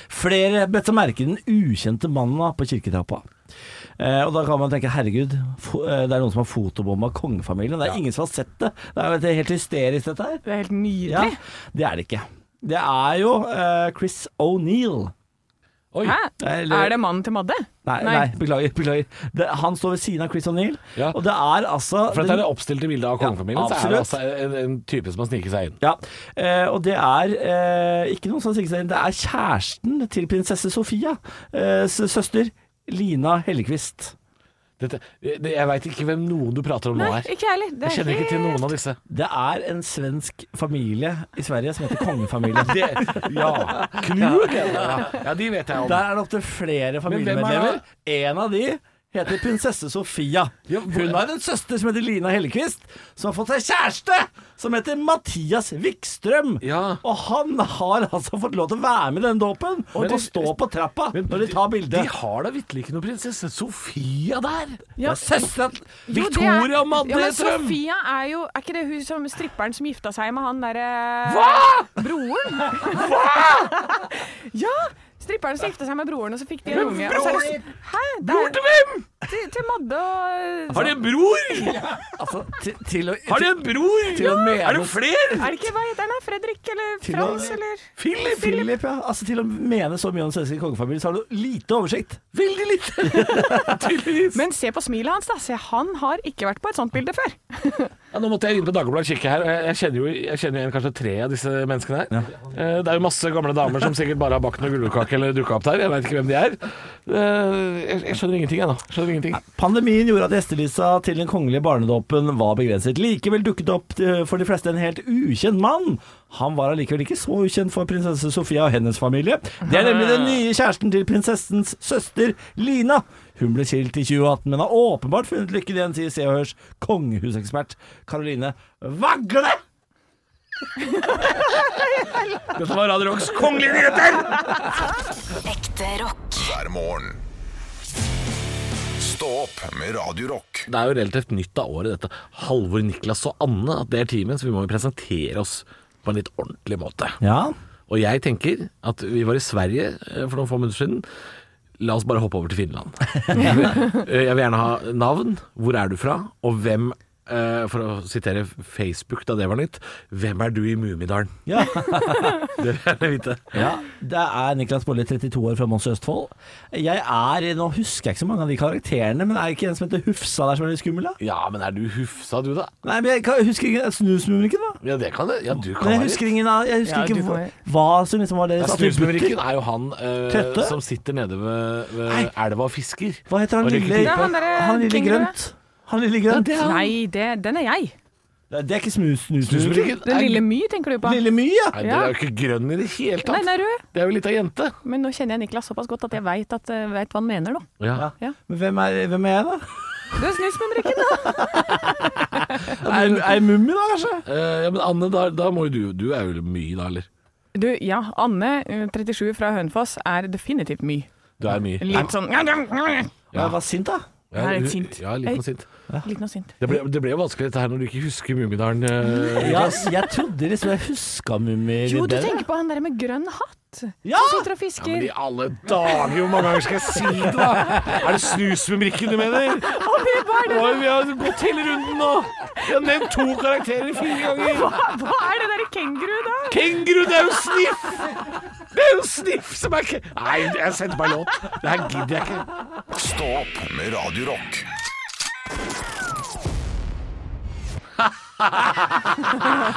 S3: Flere bet seg merke i den ukjente mannen da, på kirketrappa. Eh, og da kan man tenke herregud, fo eh, det er noen som har fotobomba kongefamilien. Det er ingen som har sett det. Det er jo helt hysterisk, dette her.
S5: Det er helt
S3: Ja,
S5: nydelig.
S3: det er det ikke. Det er jo eh, Chris O'Neill.
S4: Oi.
S5: Hæ?
S3: Eller-
S5: Er det mannen til Madde?
S3: Nei, nei.
S5: Nei.
S3: beklager. beklager. Det, han står ved siden av Chris O'Neill,
S4: Ja.
S3: og det er altså
S4: For dette er det oppstilte bildet av
S3: Ja,
S4: kongefamilien. så er det altså
S3: absolutt.
S4: en, en type som har sniket seg inn.
S3: ja, eh, og det er eh, ikke noen som sier seg inn, det er kjæresten til prinsesse Sofia, eh, s- søster Lina Hellekvist.
S4: Dette, det, jeg veit ikke hvem noen du prater om nå
S5: Nei,
S4: her.
S5: ikke jeg heller. Det
S4: Jeg
S5: er
S4: kjenner ikke til
S5: helt-
S4: noen av disse.
S3: Det er en svensk familie i Sverige som heter kongefamilien.
S4: Ja, Knut! Ja, ja, de vet jeg om.
S3: Der er det opptil flere
S4: hvem er
S3: familiemedlemmer. En av de heter prinsesse Sofia. Hun har en søster som heter Lina Hellekvist, som har fått seg kjæreste som heter Mathias Wikstrøm.
S4: Ja.
S3: Og han har altså fått lov til å være med i den dåpen og
S4: Men-
S3: til å stå på trappa
S4: Men
S3: når de tar
S4: De
S3: bilde.
S4: har da vitterlig ikke noe prinsesse Sofia der!
S5: Ja.
S3: Søstera
S5: Jo, det er-
S4: Victoria Madde
S5: ja, men
S4: Strøm!
S5: Sofia er jo Er ikke det hun som stripperen som gifta seg med han derre Broren? Hva?! ja! Stripperen som gifta seg med broren, og så fikk de en unge. og så er det- Hæ? Bror til hvem?! Til, til Madde og
S4: Har de en bror?!
S3: altså, til, til å
S4: Har de en bror?!
S3: Til å mene-
S4: Er det flere?!
S5: Er det ikke Hva heter han? da? Fredrik eller
S3: Til og-
S5: Frans eller
S3: Philip, ja. Altså, til å mene så mye om den svenske kongefamilien, så har du lite oversikt.
S4: Veldig lite! Tydeligvis.
S5: Men se på smilet hans, da. Se, han har ikke vært på et sånt bilde før.
S4: Ja, nå måtte jeg inn på Dagbladet og kikke her. og Jeg, jeg kjenner jo jeg kjenner igjen kanskje tre av disse menneskene her. Eh, Det er jo masse gamle damer som sikkert bare har bakt noe gulrotkake eller dukka opp der. Jeg veit ikke hvem de er. Eh, Jeg, jeg skjønner ingenting, jeg nå. Skjønner ingenting.
S3: Pandemien gjorde at gjestelista til den kongelige barnedåpen var begrenset. Likevel dukket det opp eh, for de fleste en helt ukjent mann. Han var allikevel ikke så ukjent for prinsesse Sofia og hennes familie. Det er nemlig den nye kjæresten til prinsessens søster, Lina. Hun ble skilt i 2018, men har åpenbart funnet lykken igjen, sier Se og Hørs kongehusekspert Karoline Vagle.
S4: Dette var Radio Rocks kongelige nyheter!
S1: Ekte rock.
S6: hver morgen. Stå opp med Radio Rock.
S4: Det er jo relativt nytt av året, dette. Halvor, Niklas og Anne, at det er teamet, så vi må jo presentere oss på en litt ordentlig måte.
S3: Ja.
S4: Og jeg tenker at vi var i Sverige eh, for noen få minutter siden. La oss bare hoppe over til Finland. Jeg vil, eh, jeg vil gjerne ha navn, hvor er du fra, og hvem eh, For å sitere Facebook da det var nytt Hvem er du i Mummidalen?
S3: ja.
S4: Det vil jeg gjerne vite.
S3: Ja, det er Niklas Bolle, 32 år fra Mons i Østfold. Jeg er, nå husker jeg ikke så mange av de karakterene, men er det ikke en som heter Hufsa der som er litt skummel, da?
S4: Ja, men er du hufsa, du, da?
S3: Nei, men jeg kan- husker ikke Snusmumrikken, da?
S4: Ja, det kan det. Ja, du
S3: Men
S4: kan
S3: jeg
S4: være
S3: husker, ingen, av- jeg husker
S5: Ja, du
S3: ikke
S5: kan
S3: hva,
S5: være-
S3: hva som liksom var det
S4: Ja,
S3: at vi
S4: Snusmumrikken
S3: butter-
S4: er jo han eh,
S3: Tøtte?
S4: som sitter nede ved,
S3: Nei.
S4: ved elva og fisker.
S3: Hva heter han
S4: Og rykker
S3: lille
S4: til.
S5: Ja, han derre
S3: Han Ah, lille
S5: kenguru.
S3: grønt? Han lille grønt?
S5: Nei, det, den er jeg.
S3: Nei, Det er ikke snus, Snusmumrikken.
S4: Snusmumrikken
S5: Den
S4: er-
S5: lille My, tenker du på?
S3: Lille My, ja.
S4: Nei, den er jo ikke grønn i det hele
S5: Nei,
S4: tatt.
S5: den er rød.
S4: Det er jo litt av jente.
S5: Men nå kjenner jeg Niklas såpass godt at jeg veit hva han mener, da.
S4: Ja.
S3: Men hvem er, hvem er jeg, da?
S5: Du er snusmumrikken, da.
S3: Er er jeg Mummi, da, kanskje?
S4: Eh, ja, men Anne, da, da må jo du Du er jo mye, da, eller?
S5: Du, ja, Anne, eh, 37 fra Hønefoss, er definitivt my.
S4: Du er mye.
S5: Litt sånn Litt
S3: Jeg var sint, da.
S4: Ja,
S5: Her er
S4: hun-
S5: det sint.
S4: Ja, litt noe sint.
S5: noe sint.
S4: Det ble, det ble jo vanskelig dette her når du ikke husker Mummidalen. eh.
S3: Ja, jeg trodde liksom jeg huska Mummi
S5: Jo,
S3: litt
S5: du
S3: bedre.
S5: tenker på han der med grønn hatt.
S3: Ja!
S5: Som sitter og
S4: Ja, men
S5: fisker.
S4: i alle dager, hvor mange ganger skal jeg si det, da? Er det snusmumrikken du mener? Oi, vi har gått hele runden nå. Vi har nevnt to karakterer fire ganger.
S5: Hva, hva er det derre kenguru, da?
S4: Kenguru, det er jo Sniff! Det er jo Sniff som er ke... Nei, jeg sendte meg låt. Det her gidder jeg ikke.
S6: Stå opp med Radio Rock.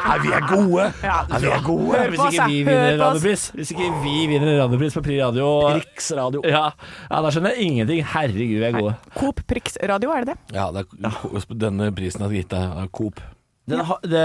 S4: Nei, vi er gode. Nei, vi er gode.
S3: Hvis ikke vi vinner en radiopris Hvis ikke vi vinner en radiopris på Pri Radio
S4: Riksradio.
S3: ja. ja, da skjønner jeg ingenting. Herregud, vi er gode.
S5: Coop Prix Radio, er det det?
S4: Ja, det er, denne prisen har gitt deg av Coop.
S3: Den har- det,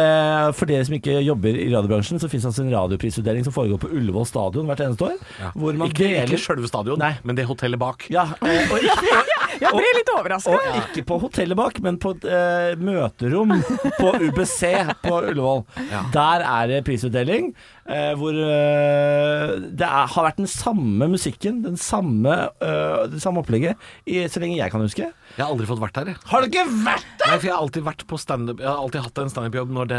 S3: for dere som ikke jobber i radiobransjen, så fins altså en radioprisutdeling som foregår på Ullevål stadion hvert eneste år. Hvor man
S4: Ikke,
S3: deler
S4: ikke sjølve stadion,
S3: Nei.
S4: men det hotellet bak.
S3: ja, eh, og, ikke,
S5: Jeg ble litt overraska.
S3: og ikke på hotellet bak, men på et eh, møterom på UBC på Ullevål. Der er det prisutdeling. eh, hvor eh, det er, har vært den samme musikken, den samme, eh, det samme opplegget, i, så lenge jeg kan huske.
S4: Jeg har aldri fått vært der, jeg.
S3: Har det ikke vært
S4: Nei, for jeg har alltid vært på standup Jeg har alltid hatt en standup-jobb når det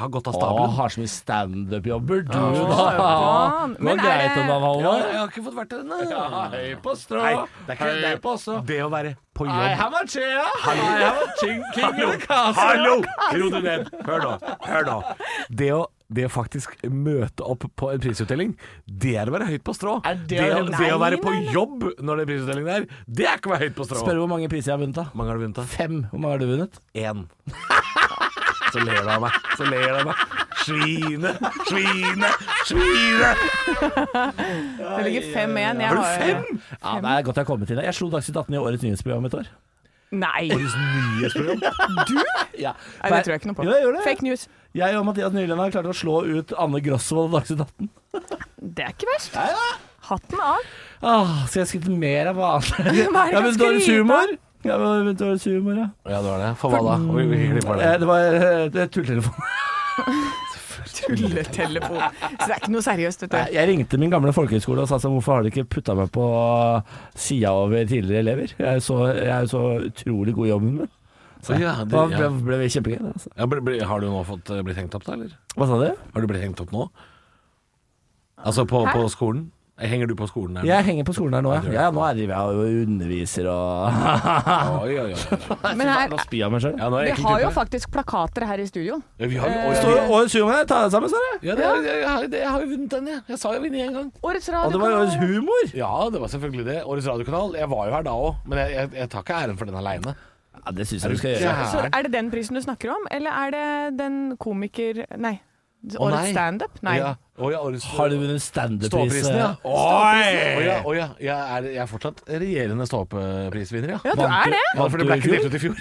S4: har gått av
S3: Å,
S4: stabelen.
S3: har så mye standup-jobber, du da.
S5: faen.
S3: Det var
S5: Men er
S3: greit
S5: det-
S3: å da,
S4: Ja,
S3: Halvor.
S4: jeg har ikke fått vært der ennå.
S3: Høy på strå,
S4: Nei, det er ikke det.
S3: på strå.
S4: Det å være på
S3: I
S4: jobb
S3: have a chair, I have a king, king in the castle.
S4: Hallo! Ro deg ned. Hør nå. Hør nå. Det å det å faktisk møte opp på en prisutdeling, det er å være høyt på strå.
S3: Er det å-
S4: det, å, det å
S5: Nei,
S4: være på
S5: nei, nei.
S4: jobb når det er prisutdeling der, det er ikke å være høyt på strå.
S3: Spør hvor mange priser jeg har vunnet, da.
S4: Hvor mange har du vunnet, da?
S3: Fem. Hvor mange har du vunnet?
S4: Én. Så ler du av meg. Så ler du av meg. Svine, svine, svine.
S5: Det ligger 5-1. Jeg
S4: Har du
S5: har-
S4: fem?
S3: Ja, det er godt jeg har kommet til det. Jeg slo Dagsnytt 18 i årets nyhetsprogram et år.
S5: Nei,
S3: Ja.
S5: Nei, det tror jeg ikke noe på.
S3: Jo, jeg gjør det.
S5: Fake news.
S3: Jeg og Mathias Nyland har klart å slå ut Anne Grosvold i Dagsnytt 18.
S5: Det er ikke verst. Hatten av.
S3: Ah, så jeg har skrevet mer av vanlig.
S5: Hva er det
S3: Jeg har
S5: du
S3: begynt
S5: skal
S3: årets
S5: skryte av?
S3: humor. Jeg har begynt årets humor, ja.
S4: Ja, det var det. For hva da? Hvor hvor hyggelig var det?
S3: Eh, Det var eh, det er tulltelefon.
S5: Tulletelefon. Så det er ikke noe seriøst, vet du.
S3: Jeg ringte min gamle folkehøyskole og sa sånn, hvorfor har de ikke putta meg på sida over tidligere elever? Jeg er så, jeg er så utrolig god i jobben min.
S4: Så, ja, det
S3: Da
S4: ja.
S3: ble, ble vi kjempegøy. da, Altså.
S4: Ja, ble, ble, har du nå fått, eh, blitt hengt opp, da, eller?
S3: Hva sa du?
S4: Har du blitt hengt opp nå? Altså på, på skolen? Eh, Henger du på skolen? her nå?
S3: Jeg henger på skolen her nå, ja. ja nå driver jeg og underviser og
S4: Ah, Oi, oi, oi.
S5: Men her,
S3: Nå spyr jeg meg sjøl.
S4: Ja, nå er
S5: vi
S4: jeg
S5: har jo
S4: ekkel type.
S5: faktisk plakater her i studio.
S4: ja, vi har jo
S5: Eh,
S4: oi, oi, oi.
S3: Årets humor, ta deg sammen, sa du.
S4: Ja, det er, jeg, har- det- jeg har jo vunnet den, jeg. Jeg sa jeg vinner én gang.
S5: Årets
S3: Og det var årets
S5: radiokanal.
S3: humor.
S4: Ja, det var selvfølgelig det. Årets radiokanal. Jeg var jo her da òg, men jeg, jeg, jeg tar ikke æren for den aleine.
S3: Ja, det syns jeg du skal
S4: Ja.
S3: gjøre.
S5: Så er det den prisen du snakker om, eller er det den komiker... Nei.
S4: Å, nei.
S5: Årets standup? Nei.
S4: Ja. Å, ja, årets,
S3: Har du vunnet eh, standup-pris?
S4: Ståprisen, ja. Å, ja,
S3: Oi!
S4: å, ja. Jeg, er, jeg er fortsatt regjerende ståprisvinner, ja.
S5: Ja, du er det.
S4: Ja, for det ble
S3: Vant du
S4: ikke
S3: i
S4: delt ut i fjor.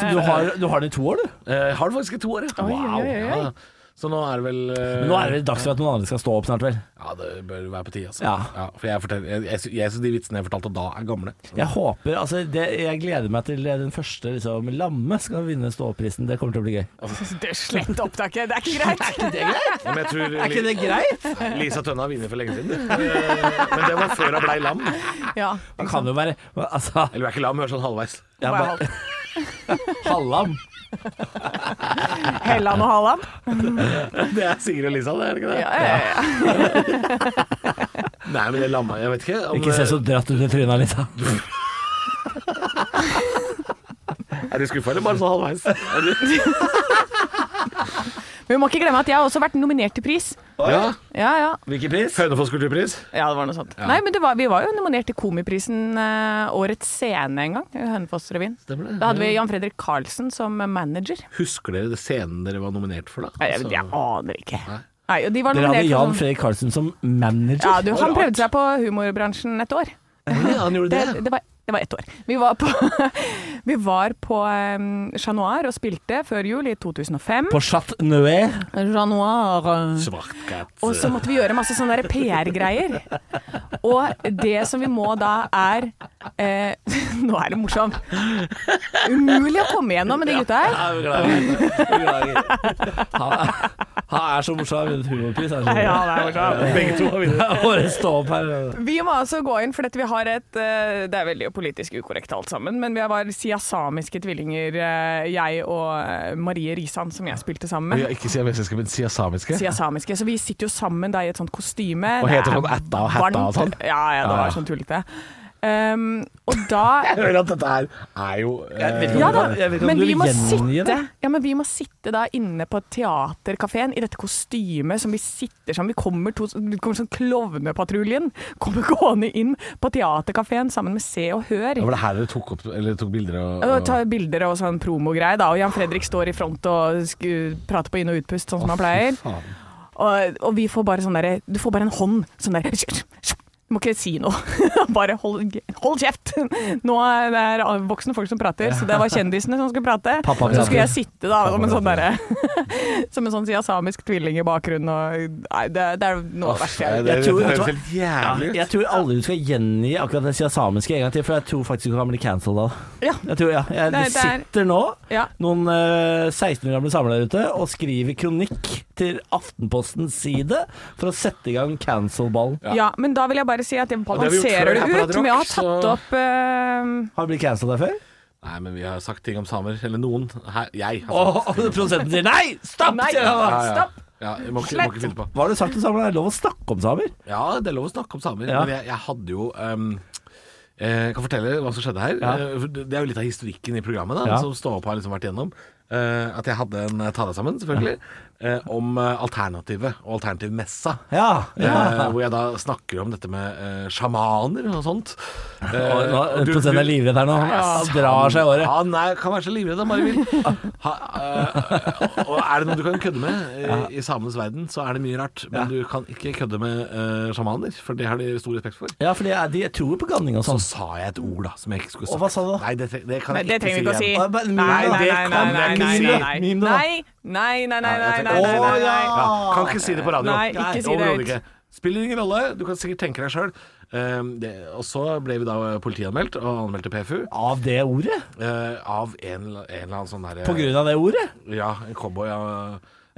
S3: Så du har, du har den i to år, du?
S4: Jeg Eh, har det faktisk i to år, ja.
S5: Oi, oi, oi, oi.
S4: Ja, Så nå er det vel eh,
S3: Men nå er det vel dags for at noen andre skal stå opp snart, vel.
S4: Ja, det bør være på tide, altså.
S3: Ja.
S4: for jeg, forteller- jeg, jeg, sy- jeg syns de vitsene jeg fortalte da, er gamle.
S3: Jeg håper, altså det, jeg gleder meg til den første liksom, Lamme skal vinne ståprisen. Det kommer til å bli gøy.
S5: Det slett opptaket. Det er ikke greit.
S4: Men jeg tror
S3: Er ikke det greit?
S4: Lisa Tønne har vunnet for lenge siden. Eh, Men det var før hun blei lam.
S5: Ja.
S3: Man kan jo være Altså,
S4: Eller hun er ikke lam, hun er sånn halvveis.
S3: jeg bare, hallam.
S5: Helland og Halland.
S4: Det er Sigrid og Lisa, det er det ikke det?
S5: Ja, ja, ja.
S4: Nei, men det er lamma, jeg vet ikke. om-
S3: Ikke se så dratt ut i trynet, liksom. Lisa.
S4: Er du skuffa, eller bare sånn halvveis? Er du-
S5: Men vi må ikke glemme at jeg har også vært nominert til pris.
S4: Ja.
S5: Ja, ja.
S3: Hvilken pris?
S4: Hønefoss kulturpris.
S5: Ja, det var noe sånt. Nei, men det var, vi var jo nominert til Komiprisen eh, Årets scene en gang, i Hønefoss-revyen.
S4: Stemmer det.
S5: Da hadde vi Jan Fredrik Karlsen som manager.
S4: Husker dere det scenen dere var nominert for, da?
S5: Nei, jeg, jeg aner ikke. Nei, og de var
S3: Dere hadde
S5: nominert
S3: Jan
S5: for sånn-
S3: Fredrik Karlsen som manager.
S5: Ja, du, han prøvde seg på humorbransjen et år.
S4: Altså, Ja, han gjorde
S5: Det,
S4: det.
S5: det, var, det var ett år. Vi var på, vi var på eh, Chat Noir og spilte før jul i 2005.
S3: På Chat Noé.
S5: Chat Noir. eh.
S4: Svart katt.
S5: Og så måtte vi gjøre masse sånne der PR-greier. Og det som vi må da er eh, Nå er det morsomt. Umulig å komme gjennom med de gutta her.
S3: Han, han er så morsom. Han har vunnet humorpris. Han er så
S5: Ja, det er morsomt.
S4: Begge to har vunnet.
S3: morsom. Bare stå opp her.
S5: Vi må altså gå inn, for dette vi har et eh, Det er veldig politisk ukorrekt alt sammen, men vi var siasamiske tvillinger, eh, jeg og eh, Marie Risan, som jeg spilte sammen
S4: Ja,
S5: med.
S4: ikke siamesiske, men siasamiske.
S5: Siasamiske. Så vi sitter jo sammen da i et sånt kostyme.
S4: Og
S5: Det
S4: heter
S5: er
S4: sånn ætta og hætta og
S5: varmt.
S4: sånn.
S5: Ja, ja, det
S4: Ja, ja.
S5: var sånn tullete. Um, og da
S4: Jeg hører at dette her er jo eh,
S3: vet ikke om
S5: Ja
S3: du
S5: da,
S3: kan- jeg vet ikke om
S5: men
S3: du
S5: vi må,
S3: vil gjengi
S5: sitte,
S3: det.
S5: ja, men vi må sitte da inne på teaterkafeen i dette kostymet som vi sitter sammen Vi kommer, to, det kommer sånn Klovnepatruljen kommer gående inn på teaterkafeen sammen med Se og Hør.
S4: Det var det her dere tok, opp, eller tok bilder og,
S5: Og ta bilder og sånn promogreie, da. Og Jan Fredrik står i front og sku, prater på inn- og utpust, sånn som han pleier.
S4: faen.
S5: Og, og vi får bare sånn derre Du får bare en hånd sånn der Du må ikke si noe. bare hold, hold kjeft! Nå er det er voksne folk som prater, så det var kjendisene som skulle prate.
S3: Pappa
S5: så
S3: prater.
S5: skulle jeg sitte da som en sånn derre Som en sånn siasamisk tvilling i bakgrunnen og Nei, det, det er noe av det verste jeg har
S4: det,
S3: Jeg tror-
S4: det
S3: jeg tror-
S4: høres helt jævlig ut.
S3: Jeg tror aldri du skal gjengi akkurat det siasamiske en gang til, for jeg tror faktisk du kan bli cancelled da.
S5: Ja.
S3: Jeg tror, ja. jeg,
S5: Nei,
S3: det
S5: det er-
S3: sitter nå
S5: Ja.
S3: noen eh, 16 år gamle samlere der ute og skriver kronikk til Aftenpostens side for å sette i gang cancel-ballen.
S5: Ja. men da vil jeg bare si at jeg
S4: det har vi gjort før
S5: balanserer det
S4: her på
S5: ut
S4: Radio Rock,
S5: med å ha
S4: så-
S5: tatt opp eh,
S3: Har du blitt cancela før?
S4: Nei, men vi har sagt ting om samer. Eller noen. Her, jeg har
S3: Og
S4: sagt
S3: og produsenten sier nei! Stopp!
S5: Nei,
S3: sier han da.
S4: Ja, ja.
S5: stopp!
S4: Ja, jeg må ikke, må ikke finne på.
S3: Hva har du sagt til samer? Det er lov å snakke om samer.
S4: Ja, det er lov å snakke om samer.
S3: Ja.
S4: Men jeg, jeg hadde jo ehm, eh, Jeg kan fortelle hva som skjedde her. Eh, for Det er jo litt av historikken i programmet da,
S3: Ja.
S4: som Stå opp har liksom vært igjennom. Eh, at jeg hadde en eh, Ta deg sammen, selvfølgelig, eh, om eh, alternativet og alternativmessa.
S3: Ja.
S4: Eh, hvor jeg da snakker om dette med eh, sjamaner og sånt. Eh,
S3: Og nå,
S4: og du-
S3: Produsenten er
S4: du-
S3: livredd her nå.
S4: Ja,
S3: Han drar seg i håret.
S4: Han er, kan være så livredd han bare vil. Ha, eh, og er det noe du kan kødde med i, i samenes verden, så er det mye rart. Men du kan ikke kødde med eh, sjamaner, for det har de stor respekt for.
S3: Ja, for de, er- de tror jo på ganning og
S4: Så
S3: sånn.
S4: sa jeg et ord da som jeg ikke skulle
S3: Og
S4: sagt.
S3: hva sa du da?
S4: Nei, det, tre- det kan
S5: Nei,
S4: jeg
S5: det
S4: ikke
S5: trenger vi ikke å si.
S3: Å, men-
S5: Nei, nei,
S4: Nei, det
S5: nei,
S4: kan
S5: nei,
S4: jeg
S5: nei,
S4: ikke
S5: nei,
S4: si.
S5: nei.
S3: Mim, da.
S5: Nei, nei, nei, nei, nei, nei,
S4: Å,
S5: nei, nei.
S3: ja.
S4: Kan ikke si det på radio.
S5: Nei, ikke si det
S4: overhodet
S5: ut.
S4: ikke. Spiller ingen rolle, du kan sikkert tenke deg sjøl. og så ble vi da politianmeldt, og anmeldte PFU
S3: Av det ordet?
S4: eh, av en, en eller annen sånn derre
S3: På grunn av det ordet?
S4: Ja, en cowboy. Ja,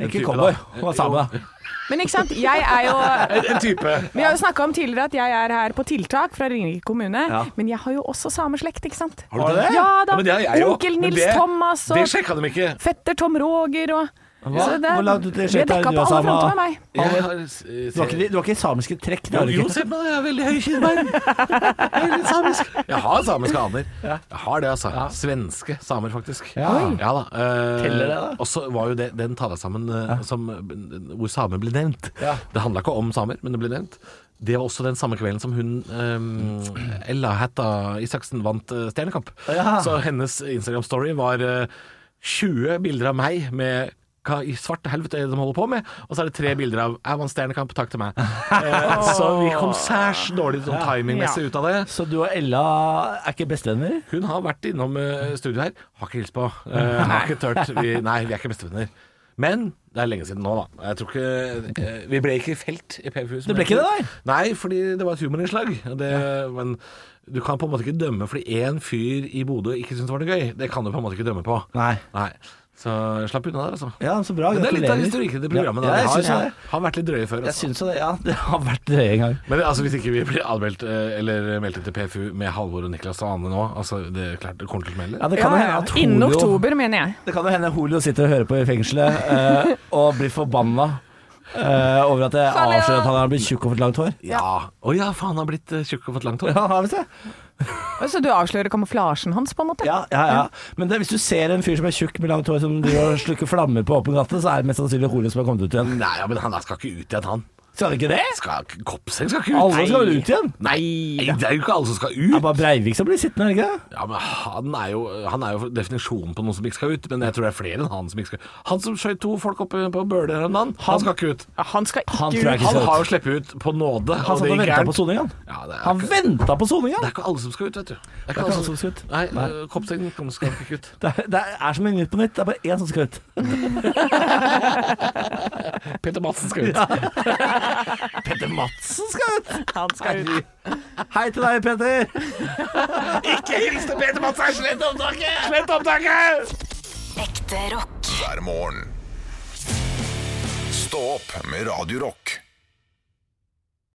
S4: en
S3: Ikke
S4: type,
S3: cowboy.
S4: da.
S3: Hva sa
S4: Jo,
S3: da?
S5: Men ikke sant, jeg er jo
S4: En type.
S5: Vi har jo snakka om tidligere at jeg er her på tiltak fra Ringerike kommune,
S3: Ja.
S5: men jeg har jo også sameslekt, ikke sant?
S4: Har du det?
S5: Ja da.
S4: Ja, men det har jeg jo.
S5: Onkel
S4: Men
S5: Nils
S4: det-
S5: Thomas og
S4: Det sjekka de ikke.
S5: fetter Tom Roger og Så
S3: Hvor langt ut i
S5: Vi er
S3: slekta er
S5: dekka
S3: du
S5: på
S3: og
S5: alle
S3: same?
S5: fronter med meg.
S4: Jeg har,
S3: Du har ikke, du har ikke samiske trekk? Det
S4: jo,
S3: har du
S4: jo,
S3: ikke.
S4: se på meg, jeg har veldig høy kinnbein. Jeg er litt samisk. Jeg har samiske aner. Jeg har det, altså. Svenske samer, faktisk.
S3: Ja. Oi.
S4: da. eh,
S3: Teller det, da?
S4: Og så var jo det, den tala sammen eh, som, hvor samer ble nevnt.
S3: Ja.
S4: Det handla ikke om samer, men det ble nevnt. Det var også den samme kvelden som hun eh, Ella Hætta Isaksen vant eh, Stjernekamp.
S3: Ja.
S4: Så hennes Instagram-story var eh, 20 bilder av meg med hva i svarte helvete er det de holder på med? Og så er det tre bilder av 'Jeg vant Stjernekamp, takk til meg'. Eh, så vi kom særs dårlig sånn timingmessig ut av det.
S3: Så du og Ella er ikke bestevenner?
S4: Hun har vært innom eh, studio her. Har ikke hilst på. Eh, har ikke tørt. Vi, nei, vi er ikke bestevenner. Men det er lenge siden nå, da. Jeg tror ikke eh, Vi ble ikke felt i PFU. som
S3: Det ble
S4: jeg
S3: ikke det,
S4: tror.
S3: nei?
S4: Nei, fordi det var et humorinnslag. og Det, men du kan på en måte ikke dømme fordi én fyr i Bodø ikke syntes det var noe gøy. Det kan du på en måte ikke dømme på.
S3: Nei.
S4: Nei. Så slapp unna der, altså.
S3: Ja, så bra.
S4: Men det er litt av
S3: gratulerer.
S4: historikken til programmet. da.
S3: Ja, jeg
S4: Vi
S3: syns jo
S4: har,
S3: det.
S4: har vært litt drøye før.
S3: Jeg
S4: Altså.
S3: syns jo det. Ja, det har vært det en gang.
S4: Men altså, hvis ikke vi blir anmeldt eh, eller meldt inn til PFU med Halvor og Niklas og Anne nå altså, Det er klart det kommer til å smelle.
S3: Ja, det kan
S5: Ja,
S3: jo
S5: ja.
S3: hende at
S5: Innen
S3: Holio
S5: oktober, mener jeg.
S3: Det kan jo hende Holio sitter og hører på i fengselet eh, og blir forbanna eh, over at jeg
S5: Hallo!
S3: avslører at han har blitt tjukk og fått langt hår.
S4: Ja. Å ja, faen, han har blitt eh, tjukk og fått langt hår.
S3: Ja, har vi det?
S5: Så du avslører kamuflasjen hans, på en måte?
S3: Ja, ja, ja. Men det, hvis du ser en fyr som er tjukk med langt hår som driver og slukker flammer på åpen gate, så er det mest sannsynlig Holio som har kommet ut igjen.
S4: Nei, ja, men han der skal ikke ut igjen, han.
S3: Skal det ikke det?
S4: Skal, ikke- Kopseng skal ikke ut.
S3: Alle skal vel ut igjen?
S4: Nei, det er jo ikke alle som skal
S3: Det
S4: ut.
S3: er bare Breivik som blir sittende, er det ikke det?
S4: Ja, men han er, jo, han er jo definisjonen på noen som ikke skal ut, men jeg tror det er flere enn han som ikke skal ut. Han som skjøt to folk oppe på Bøler her om dagen, han skal ikke ut.
S5: Ja, Han skal
S3: Han tror
S5: ikke
S3: jeg
S5: ut.
S3: ikke
S4: Han
S3: skal ut.
S4: har jo sluppet ut på
S3: Han
S4: nåde. og det
S3: satt og
S4: gikk
S3: venta
S4: gærent.
S3: på soninga.
S4: Ja, det er
S3: Han
S4: ikke-
S3: venta på soninga!
S4: Det er ikke alle som skal ut, vet du. Det er
S3: ikke alle som skal ut.
S4: Nei,
S3: Nei.
S4: øh, Kopseng kom- skal ikke ut.
S3: Det er, det er som en Nytt på nytt. Det er bare én som skal ut.
S4: Peter Madsen skal ut.
S3: Petter Madsen skal ut!
S5: Han skal ut.
S3: Hei til deg, Petter.
S4: Ikke hils til Peter Madsen! Slett opptaket! Slett opptaket!
S1: Ekte rock.
S6: hver morgen. Stå opp med Radio Rock.